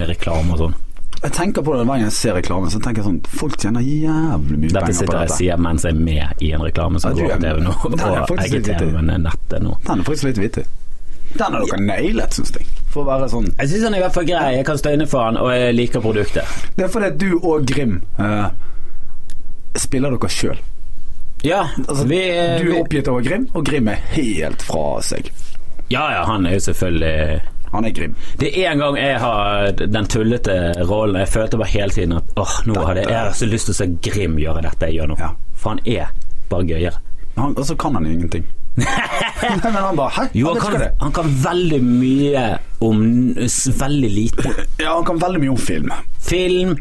[SPEAKER 2] med reklame og sånn.
[SPEAKER 1] Jeg tenker på det hver gang jeg ser reklame, så tenker jeg sånn Folk tjener jævlig mye
[SPEAKER 2] Dette
[SPEAKER 1] penger på
[SPEAKER 2] sitter jeg og
[SPEAKER 1] dette.
[SPEAKER 2] sier mens jeg er med i en reklame som
[SPEAKER 1] Ja, du
[SPEAKER 2] går
[SPEAKER 1] er-
[SPEAKER 2] på TV nå.
[SPEAKER 1] Nei, jeg er
[SPEAKER 2] Og
[SPEAKER 1] faktisk
[SPEAKER 2] jeg er
[SPEAKER 1] litt vittig.
[SPEAKER 2] TV-nettet nå.
[SPEAKER 1] Den er faktisk litt vittig. Den har dere nailet, syns jeg. For å være sånn
[SPEAKER 2] Jeg syns han er i hvert fall grei. Jeg kan stå inne for han, og jeg liker produktet.
[SPEAKER 1] Det er fordi at du og Grim eh, spiller dere sjøl.
[SPEAKER 2] Ja,
[SPEAKER 1] Altså,
[SPEAKER 2] vi, eh,
[SPEAKER 1] du er
[SPEAKER 2] vi
[SPEAKER 1] oppgitt over Grim, og Grim er helt fra seg.
[SPEAKER 2] Ja ja, han er jo selvfølgelig
[SPEAKER 1] Han er Grim.
[SPEAKER 2] Det er en gang jeg har den tullete rollen. Jeg følte bare hele tiden at åh, nå hadde jeg, jeg har så lyst til å se Grim gjøre dette jeg gjør nå.
[SPEAKER 1] Ja.
[SPEAKER 2] For han er bare gøyere.
[SPEAKER 1] Han, og så kan han ingenting. Nei, men han bare Hæ?
[SPEAKER 2] Jo,
[SPEAKER 1] han,
[SPEAKER 2] han
[SPEAKER 1] vet ikke hva
[SPEAKER 2] kan,
[SPEAKER 1] det. er.
[SPEAKER 2] han kan veldig mye om s- veldig lite.
[SPEAKER 1] Ja, han kan veldig mye om film.
[SPEAKER 2] Film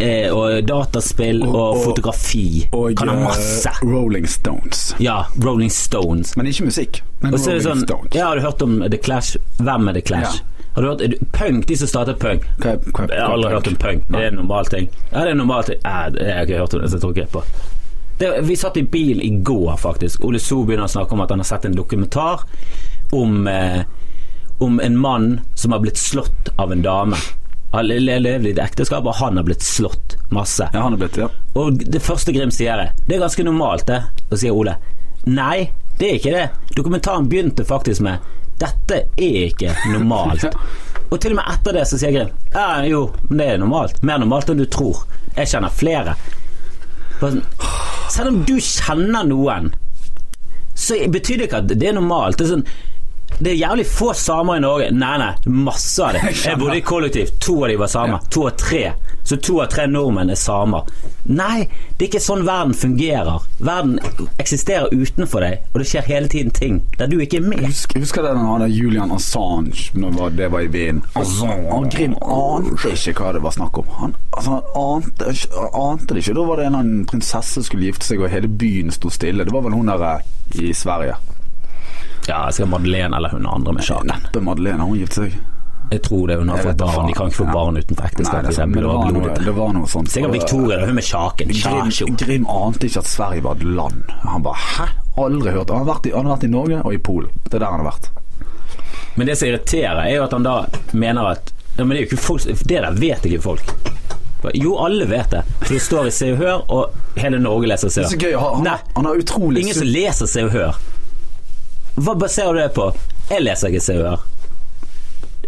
[SPEAKER 2] eh, og dataspill og,
[SPEAKER 1] og-
[SPEAKER 2] fotografi.
[SPEAKER 1] Og
[SPEAKER 2] kan han
[SPEAKER 1] eh,
[SPEAKER 2] masse.
[SPEAKER 1] Rolling Stones.
[SPEAKER 2] Ja, Rolling Stones.
[SPEAKER 1] Men ikke musikk. Men
[SPEAKER 2] Og så
[SPEAKER 1] Rolling
[SPEAKER 2] er det sånn,
[SPEAKER 1] Stones.
[SPEAKER 2] ja, har du hørt om The Clash? Hvem er The Clash? Har du hørt, er du, punk, de som startet punk.
[SPEAKER 1] Hva er- hva er-
[SPEAKER 2] Jeg har aldri
[SPEAKER 1] hva er
[SPEAKER 2] hørt om
[SPEAKER 1] punk?
[SPEAKER 2] punk. Det
[SPEAKER 1] Nei.
[SPEAKER 2] er en normal ting. Ja, det er en normal ting. Nei, det- jeg har ikke hørt om det, så jeg tror ikke på det. Vi satt i bil i går, faktisk. Ole So begynner å snakke om at han har sett en dokumentar om, eh, om en mann som har blitt slått av en dame. Han le- le- levde i et ekteskap, og han har blitt slått masse.
[SPEAKER 1] Ja, han er blitt ja.
[SPEAKER 2] Og det første Grim sier er Det er ganske normalt det Og sier Ole Nei, det er ikke det Dokumentaren begynte faktisk med Dette er ikke normalt Og til og med etter det så sier Grim Ja, jo, men det er normalt Mer normalt enn du tror Jeg kjenner flere Bare sånn, Selv om du kjenner noen Så betyr det ikke at det er normalt Det er sånn det er jævlig få samer i Norge Nei, nei, masse av det Jeg bodde i kollektiv, to av de var samer To av tre Så to av tre nordmenn er samer Nei, det er ikke sånn verden fungerer Verden eksisterer utenfor deg Og det skjer hele tiden ting Der du ikke er med
[SPEAKER 1] Husker, husker dere når han der Julian Assange Når var- det var i Wien? Han Grim ante ikke hva det var snakk om. Han, altså, han ante, ikke- han ante det ikke. Da var det en eller annen prinsesse som skulle gifte seg, og hele byen sto stille. Det var vel hun der eh, i Sverige.
[SPEAKER 2] Ja, skal Madeleine eller hun andre med sjaken
[SPEAKER 1] Neppe Madeleine, hun gifte seg.
[SPEAKER 2] Jeg tror det hun har
[SPEAKER 1] Jeg
[SPEAKER 2] fått
[SPEAKER 1] vet da
[SPEAKER 2] barn De kan ikke få
[SPEAKER 1] faen.
[SPEAKER 2] barn utenfor
[SPEAKER 1] Nei,
[SPEAKER 2] ekteskap
[SPEAKER 1] det, er
[SPEAKER 2] i
[SPEAKER 1] sant,
[SPEAKER 2] dem,
[SPEAKER 1] men det, var noe,
[SPEAKER 2] blodete.
[SPEAKER 1] det var noe sånt.
[SPEAKER 2] Sikkert Victoria, da, hun med sjaken Sjakjo.
[SPEAKER 1] Grim, Grim ante ikke at Sverige var et land. Han bare hæ? Aldri hørt. Han har vært i, han har vært i Norge og i Polen. Det er der han har vært.
[SPEAKER 2] Men det som irriterer, er jo at han da mener at ja, men det, er jo ikke folk, det der vet ikke folk. Jo, alle vet det. For det står i Se og Hør, og hele Norge leser Se
[SPEAKER 1] Det er
[SPEAKER 2] og
[SPEAKER 1] så
[SPEAKER 2] Hør.
[SPEAKER 1] gøy. Han,
[SPEAKER 2] Nei.
[SPEAKER 1] han, han har utrolig
[SPEAKER 2] Ingen som leser Se og Hør. Hva baserer du det på? Jeg leser ikke Se og Hør.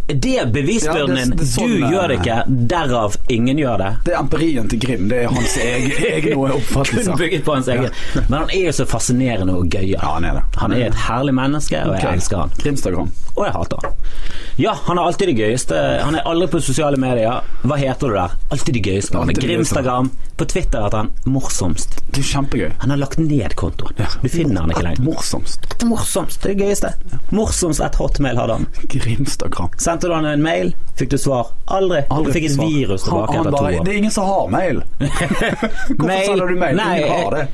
[SPEAKER 2] Det er bevisbyrden
[SPEAKER 1] Ja, det-
[SPEAKER 2] din.
[SPEAKER 1] det er sånn
[SPEAKER 2] Du
[SPEAKER 1] det-
[SPEAKER 2] gjør det ikke, derav ingen gjør det.
[SPEAKER 1] Det er empirien til Grim. Det er hans egen, egne
[SPEAKER 2] Kun
[SPEAKER 1] oppfattelser.
[SPEAKER 2] bygget på hans egen. Men han er jo så fascinerende og gøyal.
[SPEAKER 1] Ja, han er det.
[SPEAKER 2] Han er et herlig menneske, og jeg elsker han.
[SPEAKER 1] Grimstagram.
[SPEAKER 2] Og jeg hater han. Ja, han er alltid det gøyeste. Han er aldri på sosiale medier. Hva heter du der? Alltid det gøyeste. Han er
[SPEAKER 1] Alltid det gøyeste.
[SPEAKER 2] Grimstagram. På Twitter heter han morsomst.
[SPEAKER 1] Det er jo kjempegøy.
[SPEAKER 2] Han har lagt ned kontoen. Du finner han ikke lenger.
[SPEAKER 1] Morsomst.
[SPEAKER 2] Det er Morsomst, det er det gøyeste. Morsomst at hotmail hadde han.
[SPEAKER 1] Grimstagram.
[SPEAKER 2] Sendte du han en mail, fikk du svar. Aldri.
[SPEAKER 1] Aldri
[SPEAKER 2] du fikk et
[SPEAKER 1] svar.
[SPEAKER 2] virus
[SPEAKER 1] Han-
[SPEAKER 2] tilbake
[SPEAKER 1] han
[SPEAKER 2] etter to
[SPEAKER 1] bare,
[SPEAKER 2] år.
[SPEAKER 1] Det er ingen som har mail. Hvorfor
[SPEAKER 2] Mail?
[SPEAKER 1] sender du mail?
[SPEAKER 2] Nei,
[SPEAKER 1] Ingen har det.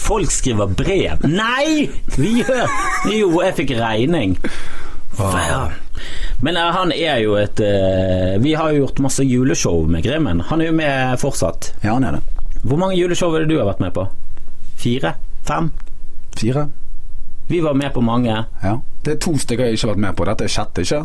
[SPEAKER 2] Folk skriver brev. Nei! Vi gjør Jo, jeg fikk regning. Faen. Men eh, han er jo et eh, Vi har jo gjort masse juleshow med Grimmen. Han er jo med fortsatt.
[SPEAKER 1] Ja, han er det.
[SPEAKER 2] Hvor mange juleshow er det du har vært med på? Fire? Fem?
[SPEAKER 1] Fire.
[SPEAKER 2] Vi var med på mange.
[SPEAKER 1] Ja. Det er to stykker jeg ikke har vært med på. Dette er sjette, ikke?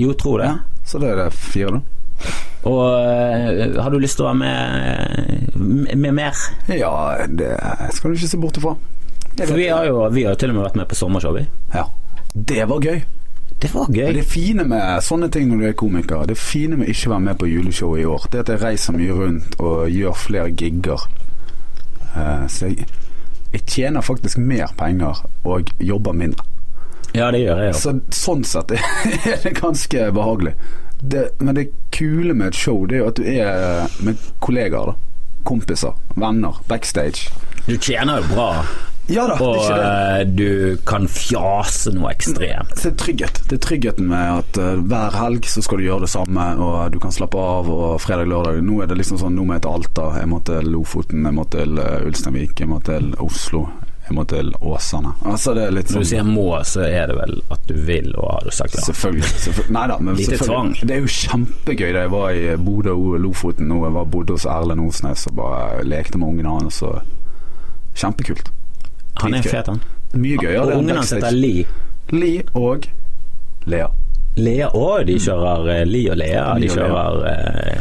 [SPEAKER 2] Jo, tror det.
[SPEAKER 1] Ja. Så det er det fire, da.
[SPEAKER 2] Og eh, har du lyst til å være med eh, med mer?
[SPEAKER 1] Ja, det skal du ikke se bort ifra. Det
[SPEAKER 2] For
[SPEAKER 1] vet
[SPEAKER 2] vi
[SPEAKER 1] jeg.
[SPEAKER 2] har jo vi har jo til og med vært med på sommershow, vi.
[SPEAKER 1] Ja. Det var gøy.
[SPEAKER 2] Det var
[SPEAKER 1] Og
[SPEAKER 2] gøy.
[SPEAKER 1] Det fine med sånne ting når du er komiker, det fine med ikke å være med på juleshow i år, det er at jeg reiser mye rundt og gjør flere gigger. Eh, så jeg, jeg tjener faktisk mer penger og jobber mindre.
[SPEAKER 2] Ja, det gjør jeg jo.
[SPEAKER 1] Så sånn sett er det ganske behagelig. Det, men det kule med et show, det er jo at du er med kollegaer, da. Kompiser, venner, backstage.
[SPEAKER 2] Du tjener jo bra.
[SPEAKER 1] Ja da, Ah, det er
[SPEAKER 2] Og
[SPEAKER 1] ikke det.
[SPEAKER 2] eh, du kan fjase noe ekstremt.
[SPEAKER 1] Så det er trygghet. Det er tryggheten med at eh, hver helg så skal du gjøre det samme, og du kan slappe av, og fredag, lørdag Nå er det liksom sånn, nå må jeg til Alta, jeg må til Lofoten, jeg må til eh, Ulsteinvik, jeg må til Oslo, jeg må til Åsane. Altså det er litt
[SPEAKER 2] Når
[SPEAKER 1] sånn
[SPEAKER 2] du sier må, så er det vel at du vil, og har du sagt ja.
[SPEAKER 1] Selvfølgelig. selvfølgelig. Nei da, men
[SPEAKER 2] Lite
[SPEAKER 1] selvfølgelig. Det er jo kjempegøy da jeg var i Bodø og Lofoten nå. Jeg var bodde hos Erlend Osnes og bare lekte med ungene hans. og- Kjempekult.
[SPEAKER 2] Han er
[SPEAKER 1] dritgøy.
[SPEAKER 2] fet, han.
[SPEAKER 1] Mye gøyere
[SPEAKER 2] og
[SPEAKER 1] enn
[SPEAKER 2] ungen hans heter
[SPEAKER 1] backstage.
[SPEAKER 2] Li.
[SPEAKER 1] Li og Lea.
[SPEAKER 2] Lea òg, de kjører eh, Li og Lea.
[SPEAKER 1] Li
[SPEAKER 2] De
[SPEAKER 1] og Lea.
[SPEAKER 2] kjører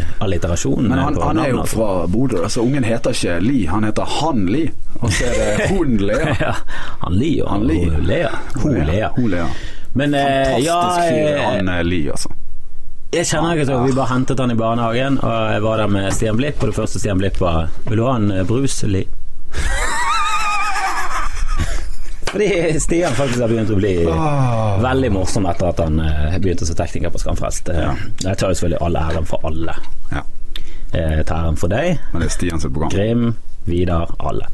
[SPEAKER 2] eh, alliterasjon.
[SPEAKER 1] Men han,
[SPEAKER 2] på
[SPEAKER 1] han er jo
[SPEAKER 2] navnet, altså.
[SPEAKER 1] fra Bodø, så ungen heter ikke Li, han heter Han Li. Og så er det Hun Lea.
[SPEAKER 2] ja, Han Li og
[SPEAKER 1] Han
[SPEAKER 2] han
[SPEAKER 1] Li.
[SPEAKER 2] Lea. Hun Lea.
[SPEAKER 1] Hun Lea.
[SPEAKER 2] Men eh,
[SPEAKER 1] Fantastisk
[SPEAKER 2] ja,
[SPEAKER 1] fyr,
[SPEAKER 2] eh,
[SPEAKER 1] han eh, Li, altså.
[SPEAKER 2] Jeg kjenner ikke til Vi bare hentet han i barnehagen, og jeg var der med Stian Blipp, og det første Stian Blipp var Vil du ha en eh, brus, Li? Fordi Stian faktisk har begynt å bli veldig morsom etter at han eh, begynte som tekniker på Skamfrelst. Eh, Jeg tar jo selvfølgelig all æren for alle. Eh,
[SPEAKER 1] Ja,
[SPEAKER 2] Jeg tar æren for deg,
[SPEAKER 1] men det er Stian sitt program.
[SPEAKER 2] Grim, Vidar, alle.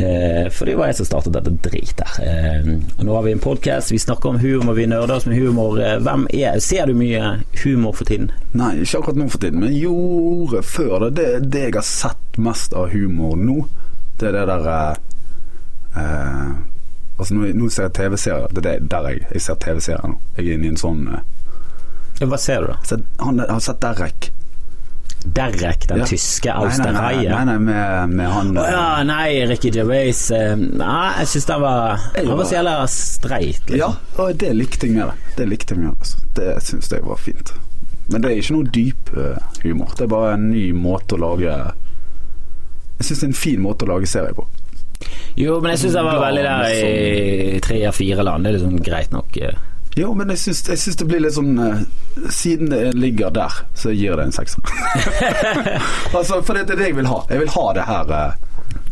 [SPEAKER 2] Eh, for det var jeg som startet dette drit der. Eh, og nå har vi en podkast, vi snakker om humor, vi nerder oss med humor. Eh, Hvem er, ser du mye humor for tiden?
[SPEAKER 1] Nei, ikke akkurat nå for tiden, men gjorde før det. Det, det jeg har sett mest av humor nå, det er det der eh, eh, Altså, nå, nå ser jeg TV-serier. Det er det- der jeg, jeg ser TV-serier nå. Jeg er inne i en sånn eh,
[SPEAKER 2] Ja, Hva ser du, da?
[SPEAKER 1] sett, han, Jeg har sett Derek.
[SPEAKER 2] Derek, den
[SPEAKER 1] Ja.
[SPEAKER 2] tyske
[SPEAKER 1] Nei, nei, nei,
[SPEAKER 2] austerreier?
[SPEAKER 1] Nei, nei, med, med han
[SPEAKER 2] Å ja, nei, Ricky Gervais eh, Nei, jeg syns den var
[SPEAKER 1] Jeg
[SPEAKER 2] Han var så jævla streit. Liksom.
[SPEAKER 1] Ja, og det likte jeg med det. Det likte jeg med det. altså. Det syns jeg var fint. Men det er ikke noe dyp eh, humor. Det er bare en ny måte å lage Jeg syns det er en fin måte å lage serie på.
[SPEAKER 2] Jo, men jeg syns den var veldig der i
[SPEAKER 1] sånn-
[SPEAKER 2] tre av fire land. Det er liksom greit nok. eh.
[SPEAKER 1] Jo, men jeg syns, jeg syns det blir litt sånn eh, Siden det ligger der, så gir det en sekser. altså, for det er det jeg vil ha. Jeg vil ha det her eh,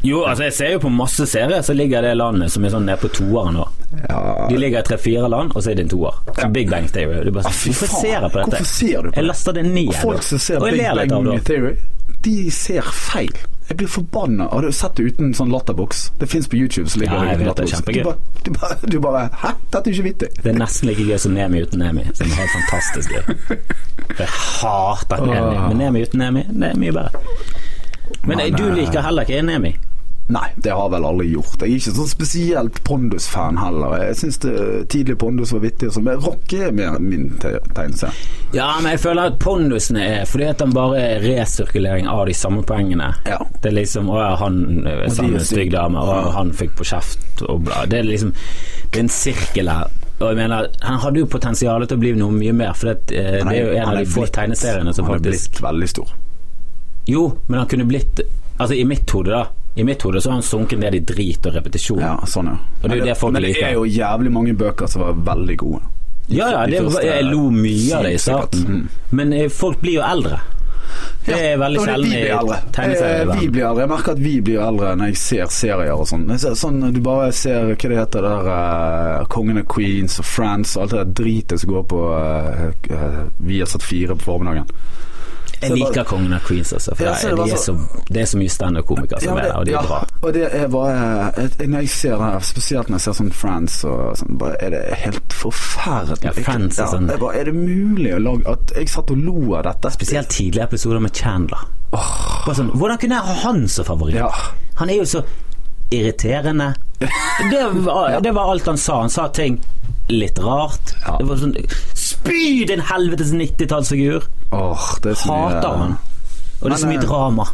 [SPEAKER 2] Jo, altså jeg ser jo på masse serier så ligger det landet som er sånn nede på toeren nå.
[SPEAKER 1] ja.
[SPEAKER 2] De ligger i tre-fire land, og så er det en toer. Så Big Bang Theory. Du bare, sånn,
[SPEAKER 1] Ah, fy
[SPEAKER 2] hvorfor
[SPEAKER 1] faen.
[SPEAKER 2] ser jeg på dette?
[SPEAKER 1] Hvorfor ser du på
[SPEAKER 2] jeg
[SPEAKER 1] det?
[SPEAKER 2] laster det ned.
[SPEAKER 1] Og folk som ser
[SPEAKER 2] og jeg
[SPEAKER 1] Big
[SPEAKER 2] ler litt av
[SPEAKER 1] Bang
[SPEAKER 2] det.
[SPEAKER 1] Theory, de ser feil. Jeg blir forbanna. Har du sett det uten sånn latterboks? Det fins på YouTube. Så ligger
[SPEAKER 2] Ja, jeg
[SPEAKER 1] uten
[SPEAKER 2] vet det,
[SPEAKER 1] latterboks.
[SPEAKER 2] kjempegøy.
[SPEAKER 1] Du bare, du, bare, du bare Hæ, dette er ikke vittig.
[SPEAKER 2] Det er nesten like gøy som Nemi uten Nemi, som er helt fantastisk gøy. For Jeg hater Nemi,
[SPEAKER 1] Åh.
[SPEAKER 2] men Nemi uten Nemi, det er mye bedre. Men
[SPEAKER 1] Men,
[SPEAKER 2] du
[SPEAKER 1] eh,
[SPEAKER 2] liker heller ikke Nemi.
[SPEAKER 1] Nei, det har jeg vel aldri gjort. Jeg er ikke sånn spesielt Pondus-fan heller. Jeg syns tidlig Pondus var vittig, og så men Rock er mer min te- tegneserie.
[SPEAKER 2] Ja, men jeg føler at pondusene er fordi at han bare er resirkulering av de samme poengene.
[SPEAKER 1] Ja.
[SPEAKER 2] Det er liksom Å ja, han eh, sang
[SPEAKER 1] er
[SPEAKER 2] en stygg
[SPEAKER 1] stygg.
[SPEAKER 2] dame, og han fikk på kjeft og bla. Det er liksom Det er en sirkel her. Og jeg mener, Han hadde jo potensial til å bli noe mye mer, for det, eh, det er jo en av de få tegneseriene som
[SPEAKER 1] Han er
[SPEAKER 2] faktisk
[SPEAKER 1] blitt veldig stor.
[SPEAKER 2] Jo, men han kunne blitt Altså, i mitt hode, da. I mitt hode så har han sunket ned i drit og repetisjon.
[SPEAKER 1] Ja, sånn, ja.
[SPEAKER 2] Og det er jo
[SPEAKER 1] Men
[SPEAKER 2] det folk
[SPEAKER 1] men det
[SPEAKER 2] liker.
[SPEAKER 1] er jo jævlig mange bøker som var veldig gode.
[SPEAKER 2] Ja, ja,
[SPEAKER 1] De
[SPEAKER 2] det,
[SPEAKER 1] første- Mhm.
[SPEAKER 2] jeg lo mye av det i starten, men eh, folk blir jo eldre. Det
[SPEAKER 1] Ja,
[SPEAKER 2] er veldig
[SPEAKER 1] og det-
[SPEAKER 2] sjelden
[SPEAKER 1] vi
[SPEAKER 2] i
[SPEAKER 1] blir eldre. Eh, Vi
[SPEAKER 2] tegneserieverden.
[SPEAKER 1] blir eldre. Jeg merker at vi blir eldre når jeg ser serier og sånn. Jeg ser- sånn. Du bare ser hva det heter der eh, Kongen av Queens og Friends og alt det der dritet som går på eh, eh, Vi har satt fire på formiddagen.
[SPEAKER 2] Jeg liker Kongen av Queens, altså. For
[SPEAKER 1] Ja, så
[SPEAKER 2] det,
[SPEAKER 1] det var
[SPEAKER 2] er så, det er så mye standup-komikere som
[SPEAKER 1] men
[SPEAKER 2] er der, og de
[SPEAKER 1] ja,
[SPEAKER 2] er bra.
[SPEAKER 1] og det er bare eh, Når jeg ser det her, spesielt når jeg ser sånn Friends og sånn, bare er det helt forferdelig.
[SPEAKER 2] Ja, Friends er
[SPEAKER 1] Ja,
[SPEAKER 2] sånn-
[SPEAKER 1] jeg bare, er det mulig å lage At jeg satt og lo av dette?
[SPEAKER 2] Spesielt tidlige episoder med Chandler. Bare sånn, hvordan kunne jeg ha han som favoritt?
[SPEAKER 1] Ja.
[SPEAKER 2] Han er jo så irriterende. Det var, det var alt han sa. Han sa ting litt rart.
[SPEAKER 1] Ja.
[SPEAKER 2] Det var sånn Spy din helvetes 90-tallsfigur!
[SPEAKER 1] Åh, det er så mye-
[SPEAKER 2] Hater han. Og det er så
[SPEAKER 1] Men,
[SPEAKER 2] mye
[SPEAKER 1] eh,
[SPEAKER 2] drama.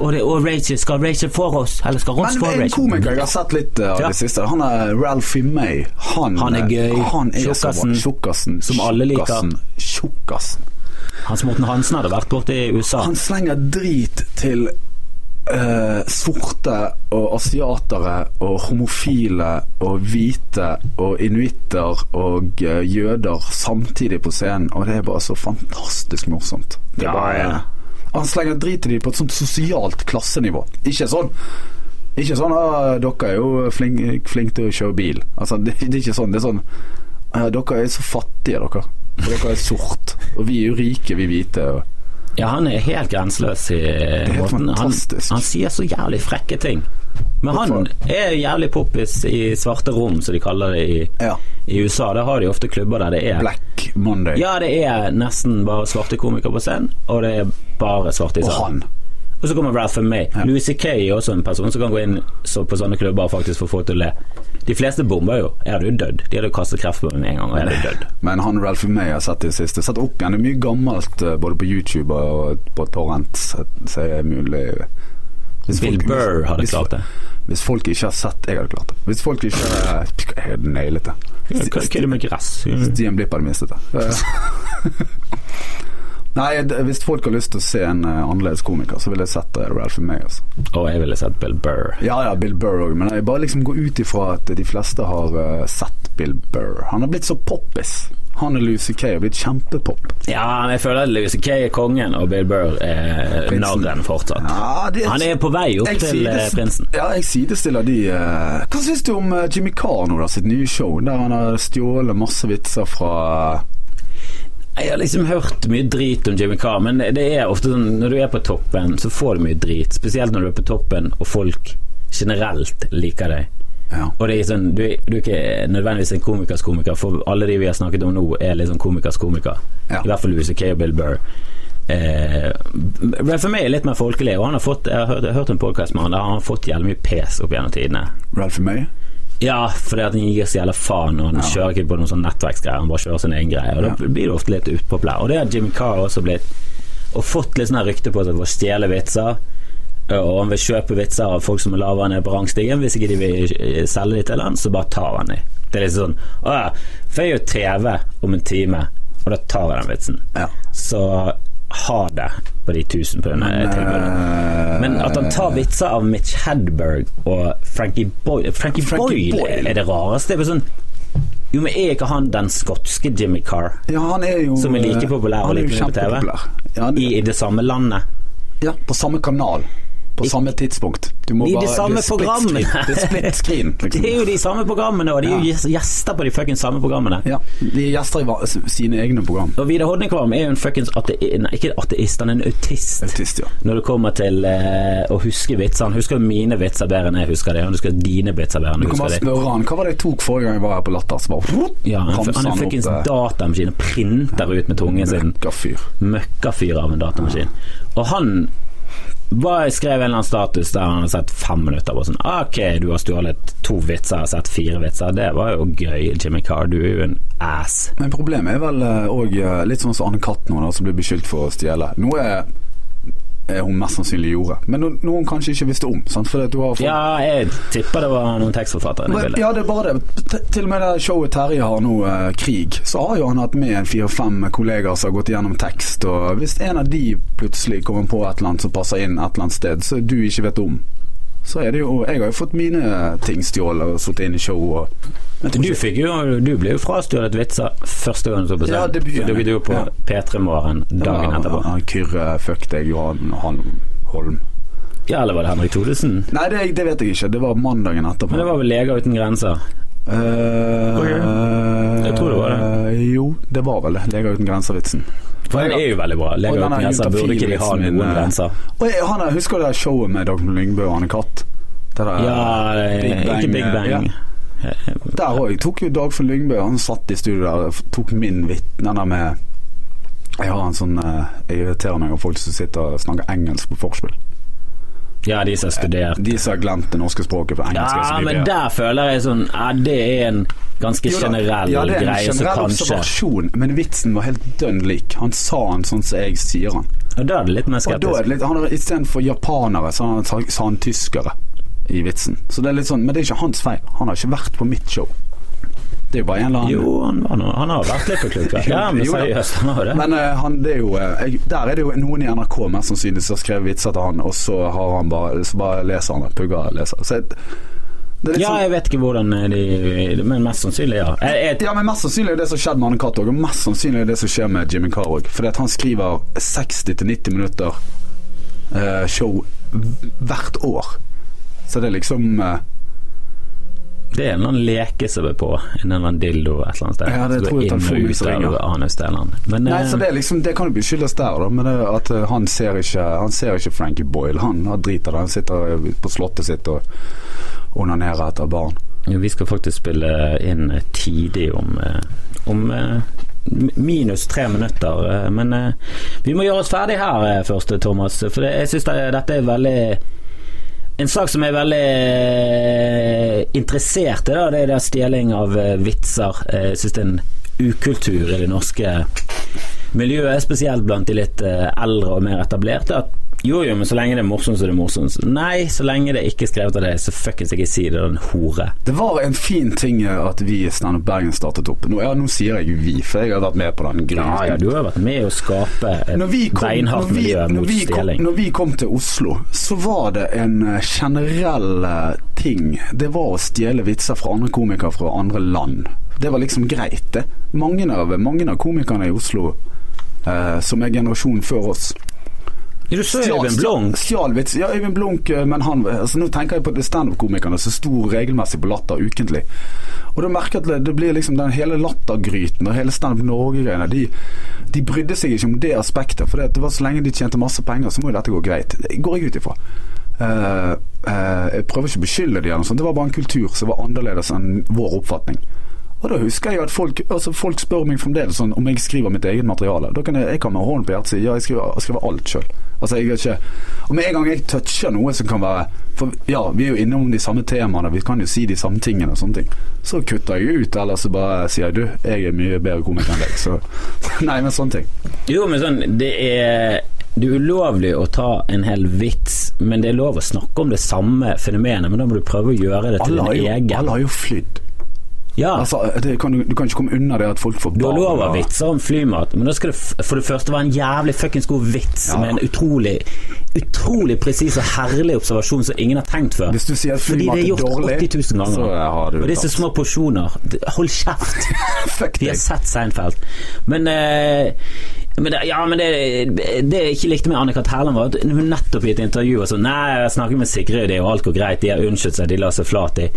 [SPEAKER 2] Og, det, og Rachel skal Rachel for oss, eller skal Ross
[SPEAKER 1] Men
[SPEAKER 2] for
[SPEAKER 1] en
[SPEAKER 2] Rachel?
[SPEAKER 1] komiker jeg har sett litt eh, av
[SPEAKER 2] Ja.
[SPEAKER 1] det siste, han er Ralphie May. Han, eh,
[SPEAKER 2] Han er gøy.
[SPEAKER 1] Han er så bra.
[SPEAKER 2] Tjukkasen.
[SPEAKER 1] Tjukkasen.
[SPEAKER 2] Som alle liker.
[SPEAKER 1] Tjukkasen. Tjukkasen.
[SPEAKER 2] Hans Morten Hansen hadde vært borte i USA.
[SPEAKER 1] Han slenger drit til eh, sorte og asiatere og homofile og hvite og inuitter og eh, jøder samtidig på scenen, og det er bare så fantastisk morsomt. Det
[SPEAKER 2] Ja,
[SPEAKER 1] er bare,
[SPEAKER 2] ja.
[SPEAKER 1] Han slenger drit til dem på et sånt sosialt klassenivå. Ikke sånn ikke sånn «Ah, 'Dere er jo flinke flink til å kjøre bil'. Altså, det, det er ikke sånn. Det er sånn «Ah, 'Dere er så fattige, dere'. For dere er sort. Og vi er jo rike, vi hvite. Og
[SPEAKER 2] Ja, han er helt grenseløs i
[SPEAKER 1] er helt
[SPEAKER 2] måten. Han,
[SPEAKER 1] fantastisk.
[SPEAKER 2] han sier så jævlig frekke ting. Men han er jævlig poppis i svarte rom, som de kaller det i,
[SPEAKER 1] Ja.
[SPEAKER 2] i USA. Da har de ofte klubber der det er
[SPEAKER 1] Black Monday.
[SPEAKER 2] Ja, det er nesten bare svarte komikere på scenen, og det er bare svarte i
[SPEAKER 1] Og
[SPEAKER 2] salen.
[SPEAKER 1] han.
[SPEAKER 2] Og så kommer Ralph May. Louis C.K. er også en person som kan gå inn så på sånne klubber og faktisk få folk til å le. De fleste bomber jo. Jeg hadde jo dødd. De hadde jo kastet kreft på meg med en gang, og jeg hadde dødd.
[SPEAKER 1] Men han Ralph May har sett i det siste. Sett opp igjen. Det er mye gammelt eh, både på YouTube og på Torrent, så så er det mulig Hvis
[SPEAKER 2] Bill
[SPEAKER 1] folk-
[SPEAKER 2] Burr hadde
[SPEAKER 1] hvis-
[SPEAKER 2] klart det.
[SPEAKER 1] Hvis folk ikke har sett Jeg hadde klart det. Hvis folk ikke har Jeg hadde nailet det.
[SPEAKER 2] Hva hva er det med gress?
[SPEAKER 1] Stian Blipp hadde mistet det. Nei, det- hvis folk har lyst til å se en eh, annerledes komiker, så ville jeg sett eh, Ralph May. Altså.
[SPEAKER 2] Og jeg ville sett Bill Burr.
[SPEAKER 1] Ja ja, Bill Burr òg, men jeg bare liksom går ut ifra at de fleste har eh, sett Bill Burr. Han har blitt så poppis. Han og Lucy Kay har blitt kjempepop.
[SPEAKER 2] Ja, men jeg føler at Louis C.K. er kongen, og Bill Burr er
[SPEAKER 1] Prinsen.
[SPEAKER 2] narren fortsatt.
[SPEAKER 1] Ja, det
[SPEAKER 2] Han er på vei opp
[SPEAKER 1] Jeg
[SPEAKER 2] til eh,
[SPEAKER 1] sides-
[SPEAKER 2] prinsen.
[SPEAKER 1] Ja, jeg sidestiller de eh, Hva syns du om eh, Jimmy Carr nå, da, sitt nye show, der han har stjålet masse vitser fra
[SPEAKER 2] Jeg har liksom hørt mye drit om Jimmy Carr, men det er ofte sånn når du er på toppen, så får du mye drit. Spesielt når du er på toppen og folk generelt liker deg.
[SPEAKER 1] Ja.
[SPEAKER 2] Og det er sånn, du, er- du er ikke nødvendigvis en komikers komiker, for alle de vi har snakket om nå, er liksom komikers komiker.
[SPEAKER 1] Ja.
[SPEAKER 2] I hvert fall Louis Kay og Bill Burr. Eh, Ralph May er litt mer folkelig, og han har fått, jeg har hørt, jeg har hørt en podkast med han der han har fått jævlig mye pes opp gjennom tidene.
[SPEAKER 1] Ralph May?
[SPEAKER 2] Ja, fordi at han gir så jævla faen, og han kjører ikke på noen sånn nettverksgreier, han bare kjører sin egen greie, og da
[SPEAKER 1] Ja.
[SPEAKER 2] blir du ofte litt upopulær. Og det har Jimmy Carr også blitt, og fått litt sånn her rykte på seg for å stjele vitser, øh, og han vil kjøpe vitser av folk som er lavere ned på rangstigen, hvis ikke de vil eh, selge de til han, så bare tar han de. Det er litt sånn, å ja, for jeg er jo TV om en time, og da tar jeg den vitsen.
[SPEAKER 1] Ja.
[SPEAKER 2] Så ha det på de tusen på denne tilbudet.
[SPEAKER 1] Eh,
[SPEAKER 2] Men at han tar vitser av Mitch Hedberg og Frankie Boyle Frankie,
[SPEAKER 1] Frankie
[SPEAKER 2] Boyle,
[SPEAKER 1] Boyle.
[SPEAKER 2] er det rareste. Det er bare sånn Jo, men er ikke han den skotske Jimmy Carr?
[SPEAKER 1] ja, han er jo eh,
[SPEAKER 2] Som er like populær og
[SPEAKER 1] han er
[SPEAKER 2] like
[SPEAKER 1] jo
[SPEAKER 2] mye på TV?
[SPEAKER 1] kjempepopulær. Ja, han,
[SPEAKER 2] I, I det samme landet?
[SPEAKER 1] ja, på samme kanal. På samme tidspunkt. Du må
[SPEAKER 2] I de
[SPEAKER 1] bare-
[SPEAKER 2] samme
[SPEAKER 1] det er split
[SPEAKER 2] programmene.
[SPEAKER 1] screen. Det er split screen,
[SPEAKER 2] Det
[SPEAKER 1] liksom.
[SPEAKER 2] er jo de samme programmene, og de er jo
[SPEAKER 1] Ja.
[SPEAKER 2] gjes- gjester på de fuckings samme programmene.
[SPEAKER 1] Ja, de er gjester i hva- s- sine egne program.
[SPEAKER 2] Og Vidar Hodnekvam er jo en fuckings ateist Nei, ikke ateist, han er en autist.
[SPEAKER 1] Autist, ja.
[SPEAKER 2] Når det kommer til eh, å huske vitser. Han husker jo mine vitser bedre enn jeg husker det. Han husker dine vitser bedre enn
[SPEAKER 1] Du
[SPEAKER 2] jeg
[SPEAKER 1] kan bare
[SPEAKER 2] husker det.
[SPEAKER 1] spørre han hva var det jeg tok forrige gang jeg var her på Latter. Så bare,
[SPEAKER 2] Ja, han,
[SPEAKER 1] ramser
[SPEAKER 2] han er en
[SPEAKER 1] opp,
[SPEAKER 2] fuckings
[SPEAKER 1] eh,
[SPEAKER 2] datamaskin og printer ut
[SPEAKER 1] altså.
[SPEAKER 2] med tungen sin.
[SPEAKER 1] møkkafyr.
[SPEAKER 2] møkkafyr av en datamaskin. Og han bare skrev en eller annen status der han hadde sett fem minutter på sånn Ok, du har stjålet to vitser, jeg har sett fire vitser. Det var jo gøy, Jimmy Carr. Du er jo en ass.
[SPEAKER 1] Men eh, problemet er vel òg litt sånn som Anne Katt nå, da, som blir beskyldt for å stjele. Nå er eh, hun mest sannsynlig gjorde. Men no- noe hun kanskje ikke visste om. Sant? Fordi at du har folk-
[SPEAKER 2] Ja, jeg tipper det var noen tekstforfattere. i det
[SPEAKER 1] Men-
[SPEAKER 2] bildet.
[SPEAKER 1] Ja, det er bare det. T- Til og med det showet Terje har nå, eh, Krig, så har jo han hatt med en fire-fem kollegaer som har gått gjennom tekst, og hvis en av de plutselig kommer på et eller annet som passer inn et eller annet sted, så du ikke vet om, så er det jo Jeg har jo fått mine ting stjålet og sittet inne i show og Men jeg tror
[SPEAKER 2] Du, fikk jo, du ble jo frastjålet vitser første gang du sto på
[SPEAKER 1] Ja,
[SPEAKER 2] scenen.
[SPEAKER 1] debuten,
[SPEAKER 2] så dukket du jo på
[SPEAKER 1] ja.
[SPEAKER 2] P3 Morgen
[SPEAKER 1] ikke det var-
[SPEAKER 2] dagen etterpå.
[SPEAKER 1] han Kyrre fuck deg, Johan Halm- Holm.
[SPEAKER 2] Ja, eller var det Henrik Thodesen?
[SPEAKER 1] Nei, det, det vet jeg ikke. Det var mandagen etterpå.
[SPEAKER 2] Men det var vel Leger uten grenser.
[SPEAKER 1] Eh,
[SPEAKER 2] Ok. Jeg tror det var det.
[SPEAKER 1] eh, Jo, det var vel det. Leger uten grenser-vitsen.
[SPEAKER 2] For den er jo veldig bra.
[SPEAKER 1] Og
[SPEAKER 2] Leger
[SPEAKER 1] den
[SPEAKER 2] uten
[SPEAKER 1] er
[SPEAKER 2] grenser burde ikke de ha
[SPEAKER 1] juntafil-vitsen min,
[SPEAKER 2] noen
[SPEAKER 1] eh,
[SPEAKER 2] grenser.
[SPEAKER 1] Og jeg, han der, Husker du det showet med Dagny Lyngbø og Anne Katt? Det der,
[SPEAKER 2] Ja, eh,
[SPEAKER 1] Big Bang,
[SPEAKER 2] ikke Big
[SPEAKER 1] eh,
[SPEAKER 2] Bang.
[SPEAKER 1] ja. Der òg. Tok jo Dagfinn Lyngbø Han satt i studio der og tok min vitt. Den der med Jeg har en sånn eh, Jeg irriterer meg over folk som sitter og snakker engelsk på forspill.
[SPEAKER 2] Ja, de som har studert.
[SPEAKER 1] De som har glemt det norske språket, for engelsk altså, er så
[SPEAKER 2] Ja,
[SPEAKER 1] mye
[SPEAKER 2] men
[SPEAKER 1] bedre.
[SPEAKER 2] der føler jeg sånn Ja, det er en ganske
[SPEAKER 1] Jo da,
[SPEAKER 2] generell
[SPEAKER 1] ja, det er en
[SPEAKER 2] greie som
[SPEAKER 1] generell
[SPEAKER 2] kanskje
[SPEAKER 1] observasjon, men vitsen var helt dønn lik. Han sa den sånn som jeg sier den.
[SPEAKER 2] Og da er det litt mer
[SPEAKER 1] Og da er
[SPEAKER 2] skeptisk.
[SPEAKER 1] det litt, han har Istedenfor japanere, så han sa sa han tyskere i vitsen. Så det er litt sånn, Men det er ikke hans feil. Han har ikke vært på mitt show. Det er jo bare en eller annen
[SPEAKER 2] Jo, han, var nå- han har vært litt på klubb. Ja, men
[SPEAKER 1] Jo da.
[SPEAKER 2] seriøst, han har jo det.
[SPEAKER 1] Men eh, han, det er jo, eh, jeg, der er det jo noen i NRK mest sannsynlig som har skrevet vitser til han, og så, har han bare, så bare leser han det. Pugger leser. Så jeg- det er litt
[SPEAKER 2] Ja,
[SPEAKER 1] sånn,
[SPEAKER 2] jeg vet ikke hvordan eh, de Men mest sannsynlig, ja. Jeg, jeg,
[SPEAKER 1] ja, men Mest sannsynlig er det som skjedde med Anne Katt òg, og mest sannsynlig er det som skjer med Jimmy Carr òg. Fordi at han skriver 60-90 minutter eh, show v- hvert år. Så det er liksom eh,
[SPEAKER 2] det er en eller annen leke som er på. En eller annen dildo et eller annet sted.
[SPEAKER 1] Ja, det
[SPEAKER 2] Som går
[SPEAKER 1] tror jeg
[SPEAKER 2] inn og
[SPEAKER 1] telefonen
[SPEAKER 2] ut
[SPEAKER 1] som
[SPEAKER 2] av
[SPEAKER 1] ringer.
[SPEAKER 2] anus til en eller annen. Men
[SPEAKER 1] Nei,
[SPEAKER 2] eh,
[SPEAKER 1] så det, er liksom, det kan jo beskyldes der, da. Men det, er at eh, han ser ikke Han ser ikke Frankie Boyle. Han, han driter det. Han sitter eh, på slottet sitt og onanerer etter barn.
[SPEAKER 2] vi skal faktisk spille inn tidlig om, eh, om eh, m- minus tre minutter. eh, Men eh, vi må gjøre oss ferdig her eh, først, Thomas. For det, jeg syns det, dette er veldig en sak som jeg er veldig eh, interessert i, da, det er det stjeling av eh, vitser. Eh, Jeg syns det er en ukultur i det norske miljøet, spesielt blant de litt eh, eldre og mer etablerte, at jo, jo, men så lenge det er morsomt, så er det morsomt. Nei, så lenge det ikke er skrevet av deg, så fuckings ikke si det, da, den hore.
[SPEAKER 1] Det var en fin ting eh, at vi i Standup Bergen startet opp. Nå, ja, nå sier jeg vi, for jeg har vært med på den
[SPEAKER 2] Ja, ja,
[SPEAKER 1] grunnen.
[SPEAKER 2] du har vært med å skape et
[SPEAKER 1] Når vi, kom, når,
[SPEAKER 2] Eh, beinhardt
[SPEAKER 1] vi,
[SPEAKER 2] miljø
[SPEAKER 1] når,
[SPEAKER 2] mot
[SPEAKER 1] vi kom,
[SPEAKER 2] stjeling.
[SPEAKER 1] når vi kom til Oslo, så var det en eh, generell eh, ting. Det var å stjele vitser fra andre komikere fra andre land. Det var liksom greit, det. Mange av, mange av komikerne i Oslo eh, som er generasjonen før oss,
[SPEAKER 2] Du så jo Øyvind Blunk.
[SPEAKER 1] Stjal vits. Ja, Øyvind Blunk, eh, men han altså, Nå tenker jeg på de standup-komikerne som sto regelmessig på Latter ukentlig. Og du merker jeg at det- det blir liksom den hele lattergryten og hele Standup Norge-greiene. De, de brydde seg ikke om det aspektet, for det, det var så lenge de tjente masse penger, så må jo dette gå greit. Det går jeg ut ifra. Eh, eh, jeg prøver ikke å beskylde de eller noe sånt, det var bare en kultur som var annerledes enn vår oppfatning. Og da husker jeg at folk, altså folk spør meg fremdeles sånn om jeg skriver mitt eget materiale. Da kan jeg, jeg kan med hånden på hjertet si ja, jeg skriver, jeg skriver alt sjøl. Altså, jeg er ikke Og med en gang jeg toucher noe som kan være For ja, vi er jo innom de samme temaene, vi kan jo si de samme tingene og sånne ting. Så kutter jeg ut, eller så bare sier jeg du, jeg er mye bedre komiker enn deg, så Nei, men sånne ting.
[SPEAKER 2] Jo, men sånn, det er det er ulovlig å ta en hel vits, men det er lov å snakke om det samme fenomenet. Men da må du prøve å gjøre det til
[SPEAKER 1] Alle har
[SPEAKER 2] din
[SPEAKER 1] jo,
[SPEAKER 2] egen.
[SPEAKER 1] alle har jo flydd.
[SPEAKER 2] Ja.
[SPEAKER 1] Altså, det kan, du- du kan ikke komme unna det at folk får
[SPEAKER 2] Du har lov
[SPEAKER 1] og-
[SPEAKER 2] av vitser om flymat, men da skal det f- for det første være en jævlig fuckings god vits
[SPEAKER 1] Ja.
[SPEAKER 2] med en utrolig utrolig presis og herlig observasjon som ingen har tenkt før.
[SPEAKER 1] Hvis du sier at
[SPEAKER 2] Fordi
[SPEAKER 1] flymat
[SPEAKER 2] det er
[SPEAKER 1] er
[SPEAKER 2] gjort
[SPEAKER 1] dårlig,
[SPEAKER 2] 80 000
[SPEAKER 1] så
[SPEAKER 2] ganger.
[SPEAKER 1] har du
[SPEAKER 2] Og disse
[SPEAKER 1] tapt.
[SPEAKER 2] små porsjoner D- Hold kjeft!
[SPEAKER 1] Fuck
[SPEAKER 2] Vi har
[SPEAKER 1] deg.
[SPEAKER 2] sett Seinfeld. Men, eh, men, det- ja, men det, det jeg ikke likte med Annika Tærland, var at hun nettopp i et intervju var sånn Nei, jeg snakket med Sigrid, og alt går greit, de har unnskyldt seg, de la seg flat i.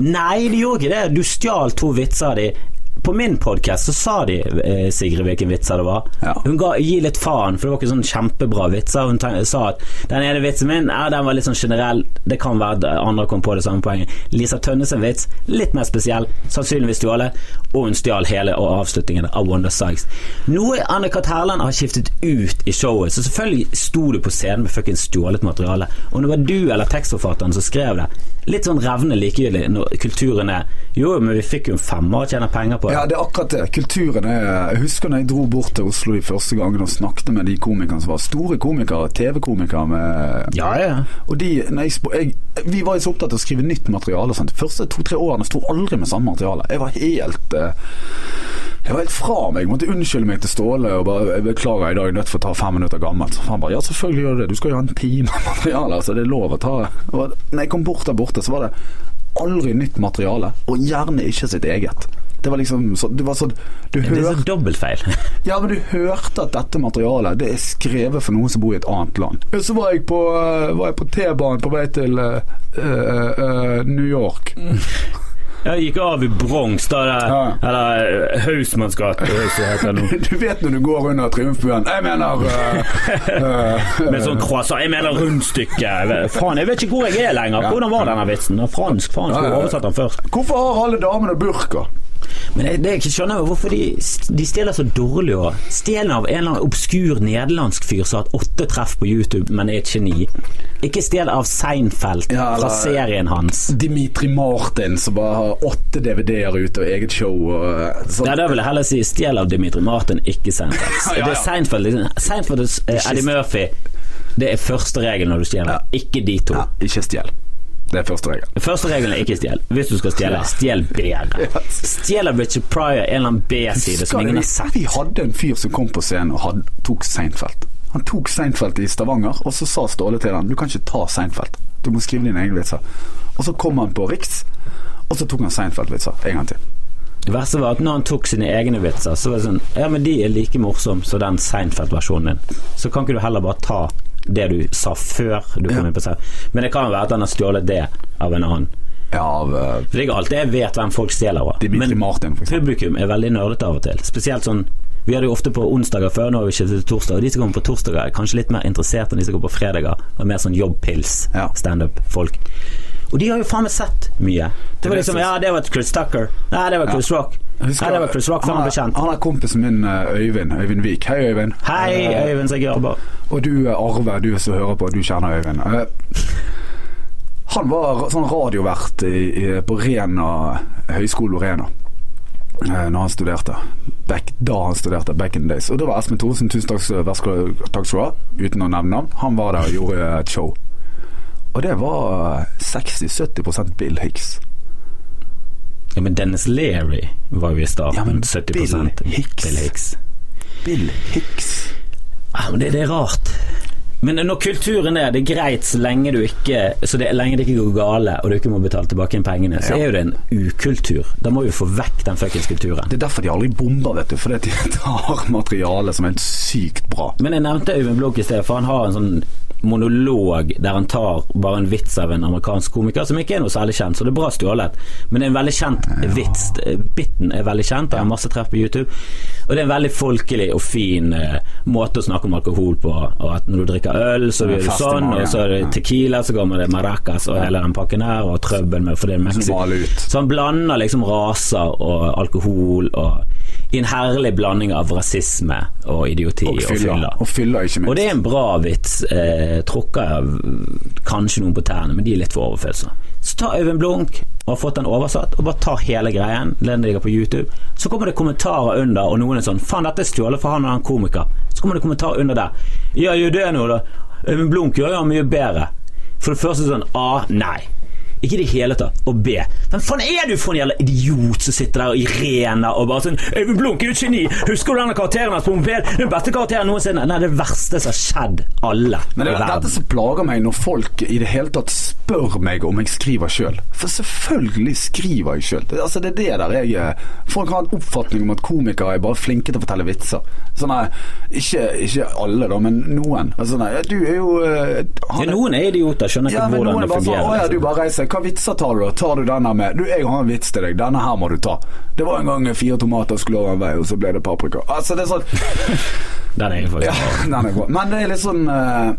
[SPEAKER 2] Nei, de gjorde ikke det! Du stjal to vitser av de. På min podkast så sa de eh, Sigrid hvilken vitser det var.
[SPEAKER 1] Ja.
[SPEAKER 2] Hun ga gi litt faen, for det var ikke sånn kjempebra vitser. Hun ten- sa at den ene vitsen min ja, den var litt sånn generell, det kan være at andre kom på det samme poenget. Lisa Tønnes sin vits, litt mer spesiell, sannsynligvis stjålet, og hun stjal hele og avslutningen av Wonder Sykes. Noe Anne-Kat. Herland har skiftet ut i showet, så selvfølgelig sto du på scenen med fuckings stjålet materiale. Om det var du eller tekstforfatteren som skrev det, litt sånn revnende likegyldig når kulturen er Jo, men vi fikk jo en femmer og tjener penger på det.
[SPEAKER 1] Ja, det er akkurat det. Kulturen er Jeg husker når jeg dro bort til Oslo de første gangene og snakket med de komikerne som var store komikere, TV-komikere med
[SPEAKER 2] Ja, ja.
[SPEAKER 1] Og de, når jeg, sp- jeg, Vi var jo så opptatt av å skrive nytt materiale. Sant? De første to-tre årene sto aldri med samme materiale. Jeg var helt eh, Jeg var helt fra meg. Jeg måtte unnskylde meg til Ståle og bare jeg 'Beklager, i dag er jeg nødt for å ta fem minutter gammelt'. Så han bare 'Ja, selvfølgelig gjør du det. Du skal jo ha en time materiale, altså det er lov å ta'. Og når jeg kom bort der borte, så var det aldri nytt materiale, og gjerne ikke sitt eget. Det var liksom så, det var sånn Du
[SPEAKER 2] Det er
[SPEAKER 1] hørte
[SPEAKER 2] sånn dobbeltfeil.
[SPEAKER 1] ja, men du hørte at dette materialet Det er skrevet for noen som bor i et annet land. Ja, Så var jeg på, eh, var jeg på T-banen på vei til eh, eh, eh, New York.
[SPEAKER 2] Jeg gikk av i Bronx, da. Der,
[SPEAKER 1] Ja.
[SPEAKER 2] Eller Hausmanns gate, hva heter det nå.
[SPEAKER 1] Du vet når du går under Triumfbuen Jeg mener eh, eh,
[SPEAKER 2] Med sånn croissant Jeg mener rundstykke. Faen, jeg vet ikke hvor jeg er lenger. Hvordan var denne vitsen? Den er Fransk, faen,
[SPEAKER 1] Ja,
[SPEAKER 2] skulle
[SPEAKER 1] ja, ja.
[SPEAKER 2] oversatt den først.
[SPEAKER 1] Hvorfor har alle damene burka?
[SPEAKER 2] Men jeg, det jeg ikke skjønner, er jo hvorfor de, de stjeler så dårlig. Og stjeler av en eller annen obskur nederlandsk fyr som har hatt åtte treff på YouTube, men er et geni. Ikke stjel av Seinfeld
[SPEAKER 1] Ja, eller-
[SPEAKER 2] fra serien hans.
[SPEAKER 1] Dimitri Martin som bare har åtte DVD-er ute og eget show. Og, eh,
[SPEAKER 2] Ja,
[SPEAKER 1] sånn.
[SPEAKER 2] Da vil jeg heller si stjel av Dimitri Martin, ikke Seinfeld.
[SPEAKER 1] Ja, ja, ja.
[SPEAKER 2] Det er Seinfeld, Seinfeld og eh, Eddie Murphy. Det er første regel når du stjeler, ikke de to.
[SPEAKER 1] Ja, ikke stjel. Det er første regel.
[SPEAKER 2] Første regelen er ikke stjel. Hvis du skal stjele, stjel bedre. Stjel av Richard Pryor, en eller annen B-side som
[SPEAKER 1] Skal
[SPEAKER 2] ingen
[SPEAKER 1] vi-
[SPEAKER 2] har sett.
[SPEAKER 1] Vi hadde en fyr som kom på scenen og hadde, tok Seinfeld. Han tok Seinfeld i Stavanger, og så sa Ståle til han Du kan ikke ta Seinfeld. Du må skrive dine egne vitser. Og så kom han på Riks, og så tok han Seinfeld-vitser en gang til.
[SPEAKER 2] Det verste var at når han tok sine egne vitser, så var det sånn Ja, men de er like morsomme som den Seinfeld-versjonen din. Så kan ikke du heller bare ta det du sa før du
[SPEAKER 1] Ja.
[SPEAKER 2] kom inn på scenen. Men det kan jo være at han har stjålet det av en annen.
[SPEAKER 1] Ja, av eh,
[SPEAKER 2] For det er ikke alltid jeg vet hvem folk stjeler av.
[SPEAKER 1] Dimitri
[SPEAKER 2] Men
[SPEAKER 1] Martin, for eksempel.
[SPEAKER 2] publikum er veldig nerdete av og til. Spesielt sånn Vi hadde jo ofte på onsdager før, nå har vi ikke til torsdag. Og de som kommer på torsdager, er kanskje litt mer interessert enn de som kommer på fredager. Og mer sånn
[SPEAKER 1] Ja.
[SPEAKER 2] jobbpils-standup-folk. Og de har jo faen meg sett mye. Det var
[SPEAKER 1] Det er
[SPEAKER 2] liksom
[SPEAKER 1] det
[SPEAKER 2] Ja, det var Chris Tucker. Nei, det var Chris Rock.
[SPEAKER 1] Jeg
[SPEAKER 2] Nei,
[SPEAKER 1] husker-
[SPEAKER 2] det var Chris Rock før han ble
[SPEAKER 1] er-
[SPEAKER 2] kjent.
[SPEAKER 1] han er kompisen min, eh, Øyvind. Øyvind Vik. Hei, Øyvind.
[SPEAKER 2] Hei,
[SPEAKER 1] Eh,
[SPEAKER 2] Øyvind Segerbo.
[SPEAKER 1] Og du eh, Arve, du som hører på, du kjenner Øyvind. Eh, Han var sånn radiovert i, i, på Rena, Høgskolen Rena. eh, Når han studerte. Back, da han studerte, back in the days. Og da var Espen Thorsen, tusen takk, skal- vær skal- takk skal du ha, uten å nevne navn. Han var der og gjorde et show. Og det var eh, 60-70 Bill Hicks.
[SPEAKER 2] Ja, men Dennis Leary var jo i
[SPEAKER 1] Ja,
[SPEAKER 2] starten.
[SPEAKER 1] men
[SPEAKER 2] 70
[SPEAKER 1] Bill Hicks.
[SPEAKER 2] Bill Hicks.
[SPEAKER 1] Bill Hicks.
[SPEAKER 2] Ja, men det, det er rart. Men når kulturen er det er greit så lenge du ikke Så det, lenge det ikke går gale og du ikke må betale tilbake inn pengene, så
[SPEAKER 1] Ja.
[SPEAKER 2] er jo det en ukultur. Da må vi få vekk den fuckings kulturen.
[SPEAKER 1] Det er derfor de aldri bomber, vet du. Fordi de tar materiale som er helt sykt bra.
[SPEAKER 2] Men jeg nevnte Øyvind Blunk i sted, for han har en sånn monolog der han tar bare en vits av en amerikansk komiker som ikke er noe særlig kjent, så det er bra stjålet. Men det er en veldig kjent vits. Bitten er veldig kjent, det er masse treff på YouTube. Og det er en veldig folkelig og fin eh, måte å snakke om alkohol på. Og at når du drikker øl, så
[SPEAKER 1] Ja,
[SPEAKER 2] gjør du
[SPEAKER 1] fast i
[SPEAKER 2] sånn,
[SPEAKER 1] magen.
[SPEAKER 2] og så er det
[SPEAKER 1] Ja.
[SPEAKER 2] tequila, så kommer det maracas og hele den pakken her, og trøbbel med for det er Mexico.
[SPEAKER 1] Som maler ut.
[SPEAKER 2] Så han blander liksom raser og alkohol og i en herlig blanding av rasisme og idioti og fylla.
[SPEAKER 1] Og fyller, ikke minst.
[SPEAKER 2] Og det er en bra vits. Eh, tråkker jeg mm, kanskje noen på tærne, men de er litt for overfølsomme. Så ta Øyvind Blunk og har fått den oversatt, og bare ta hele greien. Den ligger på YouTube. Så kommer det kommentarer under, og noen er sånn 'Faen, dette er stjålet for han og han komiker'. Så kommer det kommentarer under der. 'Ja, gjør det nå, da'. Øyvind Blunk gjør jo mye bedre. For det første sånn A. Nei. Ikke i det hele tatt. Og B. Hvem faen er du for en jævla idiot som sitter der og irener og bare sånn Øyvind Blunk er jo et geni! Husker du denne karakteren hans på moped? Den beste karakteren noensinne! Nei, det verste som har skjedd alle
[SPEAKER 1] Men det
[SPEAKER 2] i
[SPEAKER 1] er dette
[SPEAKER 2] verden.
[SPEAKER 1] som plager meg når folk i det hele tatt spør meg om jeg skriver sjøl. For selvfølgelig skriver jeg sjøl. Altså, det er det der jeg eh, Folk har en oppfatning om at komikere er bare flinke til å fortelle vitser. Sånn nei, ikke, ikke alle, da, men noen. Altså, nei, du er jo eh, han
[SPEAKER 2] Ja,
[SPEAKER 1] er-
[SPEAKER 2] noen er idioter, skjønner ikke
[SPEAKER 1] ja, men
[SPEAKER 2] hvordan
[SPEAKER 1] noen er
[SPEAKER 2] det
[SPEAKER 1] bare sånn
[SPEAKER 2] fungerer. liksom.»
[SPEAKER 1] Å ja, du bare reiser. Hva vitser tar du, da? Tar du denne med Du, jeg har en vits til deg. Denne her må du ta. Det var en gang fire tomater skulle over en vei, og så ble det paprika. Altså, det er sånn
[SPEAKER 2] Den er jo for-
[SPEAKER 1] ja, den er bra. Men det er litt sånn eh,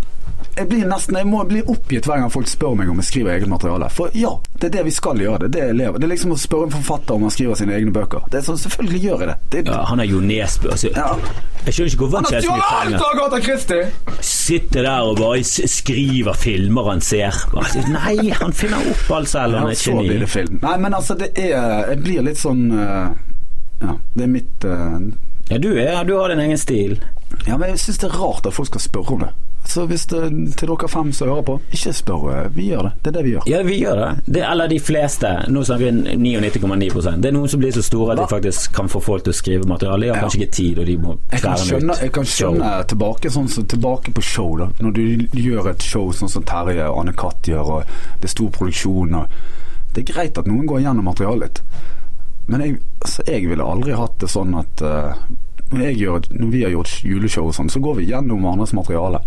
[SPEAKER 1] Jeg blir nesten Jeg må bli oppgitt hver gang folk spør meg om jeg skriver eget materiale. For ja, det er det vi skal gjøre. Det er det jeg lever Det er liksom å spørre en forfatter om han skriver sine egne bøker. Det er sånn, Selvfølgelig gjør jeg det. det er,
[SPEAKER 2] Ja, han er Jo Nesbø. Altså,
[SPEAKER 1] Ja.
[SPEAKER 2] Jeg skjønner ikke hvorfor
[SPEAKER 1] Han
[SPEAKER 2] han
[SPEAKER 1] har stjålet
[SPEAKER 2] tjener så mye
[SPEAKER 1] alt
[SPEAKER 2] penger.
[SPEAKER 1] av Agatha Christie!
[SPEAKER 2] sitter der og bare s- skriver filmer han ser. Bare, Nei, han finner opp alt selv, han
[SPEAKER 1] Ja,
[SPEAKER 2] er et
[SPEAKER 1] så blir
[SPEAKER 2] geni.
[SPEAKER 1] det film. Nei, men altså, det er Jeg blir litt sånn eh, Ja, det er mitt eh,
[SPEAKER 2] Ja, du, er, du har din egen stil.
[SPEAKER 1] Ja, men jeg syns det er rart at folk skal spørre om det. Så hvis det, til dere fem som hører på, ikke spør. eh, Vi gjør det. Det er det vi gjør.
[SPEAKER 2] Ja, vi gjør det. det eller de fleste. Nå snakker vi 99,9 Det er noen som blir så store at de faktisk kan få folk til å skrive materiale. De har
[SPEAKER 1] Ja.
[SPEAKER 2] kanskje ikke tid, og de må
[SPEAKER 1] Jeg kan
[SPEAKER 2] tvære den
[SPEAKER 1] skjønne,
[SPEAKER 2] ut.
[SPEAKER 1] jeg kan skjønne
[SPEAKER 2] Show.
[SPEAKER 1] tilbake, sånn som, tilbake på show, da. Når du gjør et show sånn som Terje og Anne Katt gjør, og det er stor produksjon og Det er greit at noen går gjennom materialet litt, men jeg, altså, jeg ville aldri hatt det sånn at eh, når, jeg gjør, et- når vi har gjort juleshow og sånn, så går vi gjennom andres materiale.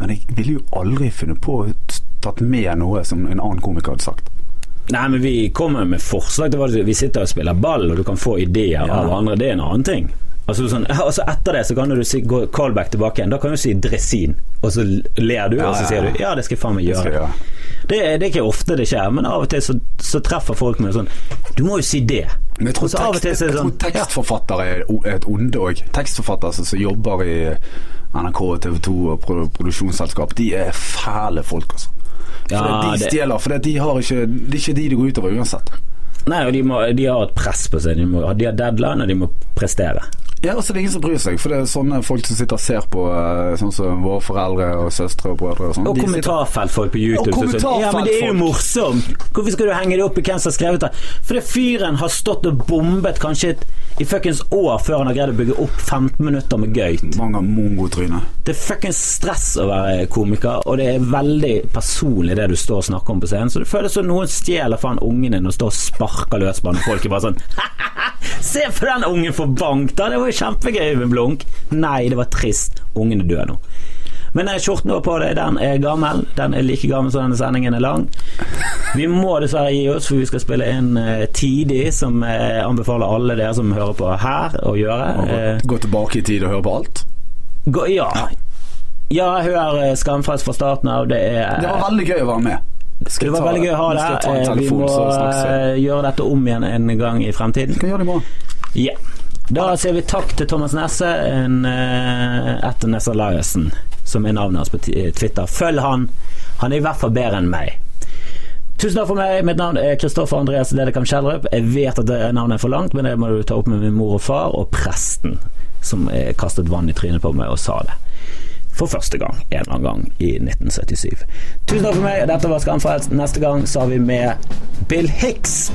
[SPEAKER 1] Men jeg ville jo aldri funnet på å tatt med noe som en annen komiker hadde sagt.
[SPEAKER 2] Nei, men vi kommer med forslag til hva du Vi sitter og spiller ball, og du kan få ideer
[SPEAKER 1] Ja.
[SPEAKER 2] av andre. Det er en annen ting. Altså, sånn, altså Etter det så kan du si gå callback tilbake igjen. Da kan du si 'dressin', og så ler du,
[SPEAKER 1] Ja,
[SPEAKER 2] og så
[SPEAKER 1] ja,
[SPEAKER 2] sier
[SPEAKER 1] ja.
[SPEAKER 2] du 'ja, det skal jeg faen meg
[SPEAKER 1] Det skal jeg
[SPEAKER 2] gjøre'.
[SPEAKER 1] gjøre.
[SPEAKER 2] Det er, det er ikke ofte det skjer, men av og til så, så treffer folk med sånn 'Du må jo si det'.
[SPEAKER 1] Men jeg tror,
[SPEAKER 2] Og så av
[SPEAKER 1] tekst,
[SPEAKER 2] og til så er det
[SPEAKER 1] jeg tror
[SPEAKER 2] sånn ja.
[SPEAKER 1] tekstforfattere er o- et onde òg. Tekstforfattere som- som jobber i NRK og TV 2 og pro- produksjonsselskap, de er fæle folk, altså.
[SPEAKER 2] Ja,
[SPEAKER 1] Fordi de
[SPEAKER 2] det-
[SPEAKER 1] stjeler, for de har ikke, det er ikke de det går utover uansett.
[SPEAKER 2] Nei, og de, må, de har et press på seg. De, må, de har deadline, og de må prestere.
[SPEAKER 1] Ja, altså Det er ingen som bryr seg, for det er sånne folk som sitter og ser på eh, sånn som våre foreldre og søstre og brødre og sånn.
[SPEAKER 2] Og
[SPEAKER 1] De sitter-
[SPEAKER 2] kommentarfeltfolk på YouTube.
[SPEAKER 1] Og
[SPEAKER 2] som sier, ja, men det er jo
[SPEAKER 1] kommentarfeltfolk.
[SPEAKER 2] morsomt! Hvorfor skal du henge det opp i hvem som har skrevet det? For det fyren har stått og bombet kanskje et, i fuckings år før han har greid å bygge opp 15 minutter med gøyt.
[SPEAKER 1] Mange har mongotryner.
[SPEAKER 2] Det er fuckings stress å være komiker, og det er veldig personlig det du står og snakker om på scenen. Så det føles som noen stjeler faen ungen din og står og sparker løs på den, og folk er bare sånn Se på den ungen for bank, da! Det var jo kjempegøy med blunk. Nei, det var trist. Ungen er død nå. Men nei, skjorten du har på deg, den er gammel. Den er like gammel som denne sendingen er lang. Vi må dessverre gi oss, for vi skal spille inn eh, tidlig, som jeg anbefaler alle dere som hører på her, å gjøre.
[SPEAKER 1] Og
[SPEAKER 2] Eh,
[SPEAKER 1] gå- Gå tilbake i tid og høre på alt.
[SPEAKER 2] Gå, ja. ja, jeg hører eh, Skamfrelst fra starten av. Det er
[SPEAKER 1] Det var veldig gøy å være med. Skal
[SPEAKER 2] Eh. det
[SPEAKER 1] jeg
[SPEAKER 2] var
[SPEAKER 1] ta-
[SPEAKER 2] veldig gøy å ha
[SPEAKER 1] nå skal jeg
[SPEAKER 2] deg.
[SPEAKER 1] ta en
[SPEAKER 2] Eh, Vi
[SPEAKER 1] telefon,
[SPEAKER 2] må
[SPEAKER 1] så snakkes vi.
[SPEAKER 2] eh, gjøre dette om igjen en gang i fremtiden.
[SPEAKER 1] Skal jeg gjøre det i morgen.
[SPEAKER 2] Ja. Da sier vi takk til Thomas Nesse en, eh, etter Nesse Lajesen, som er navnet hans på ti- eh, Twitter. Følg han. Han er i hvert fall bedre enn meg. Tusen takk for meg. Mitt navn er Kristoffer Andreas Dedekam Kjellrup. Jeg vet at det navnet er for langt, men det må du ta opp med min mor og far og presten, som eh, kastet vann i trynet på meg og sa det. For første gang en eller annen gang i 1977. Tusen takk for meg. Dette var Skamfrelst. Neste gang så har vi med Bill Hicks.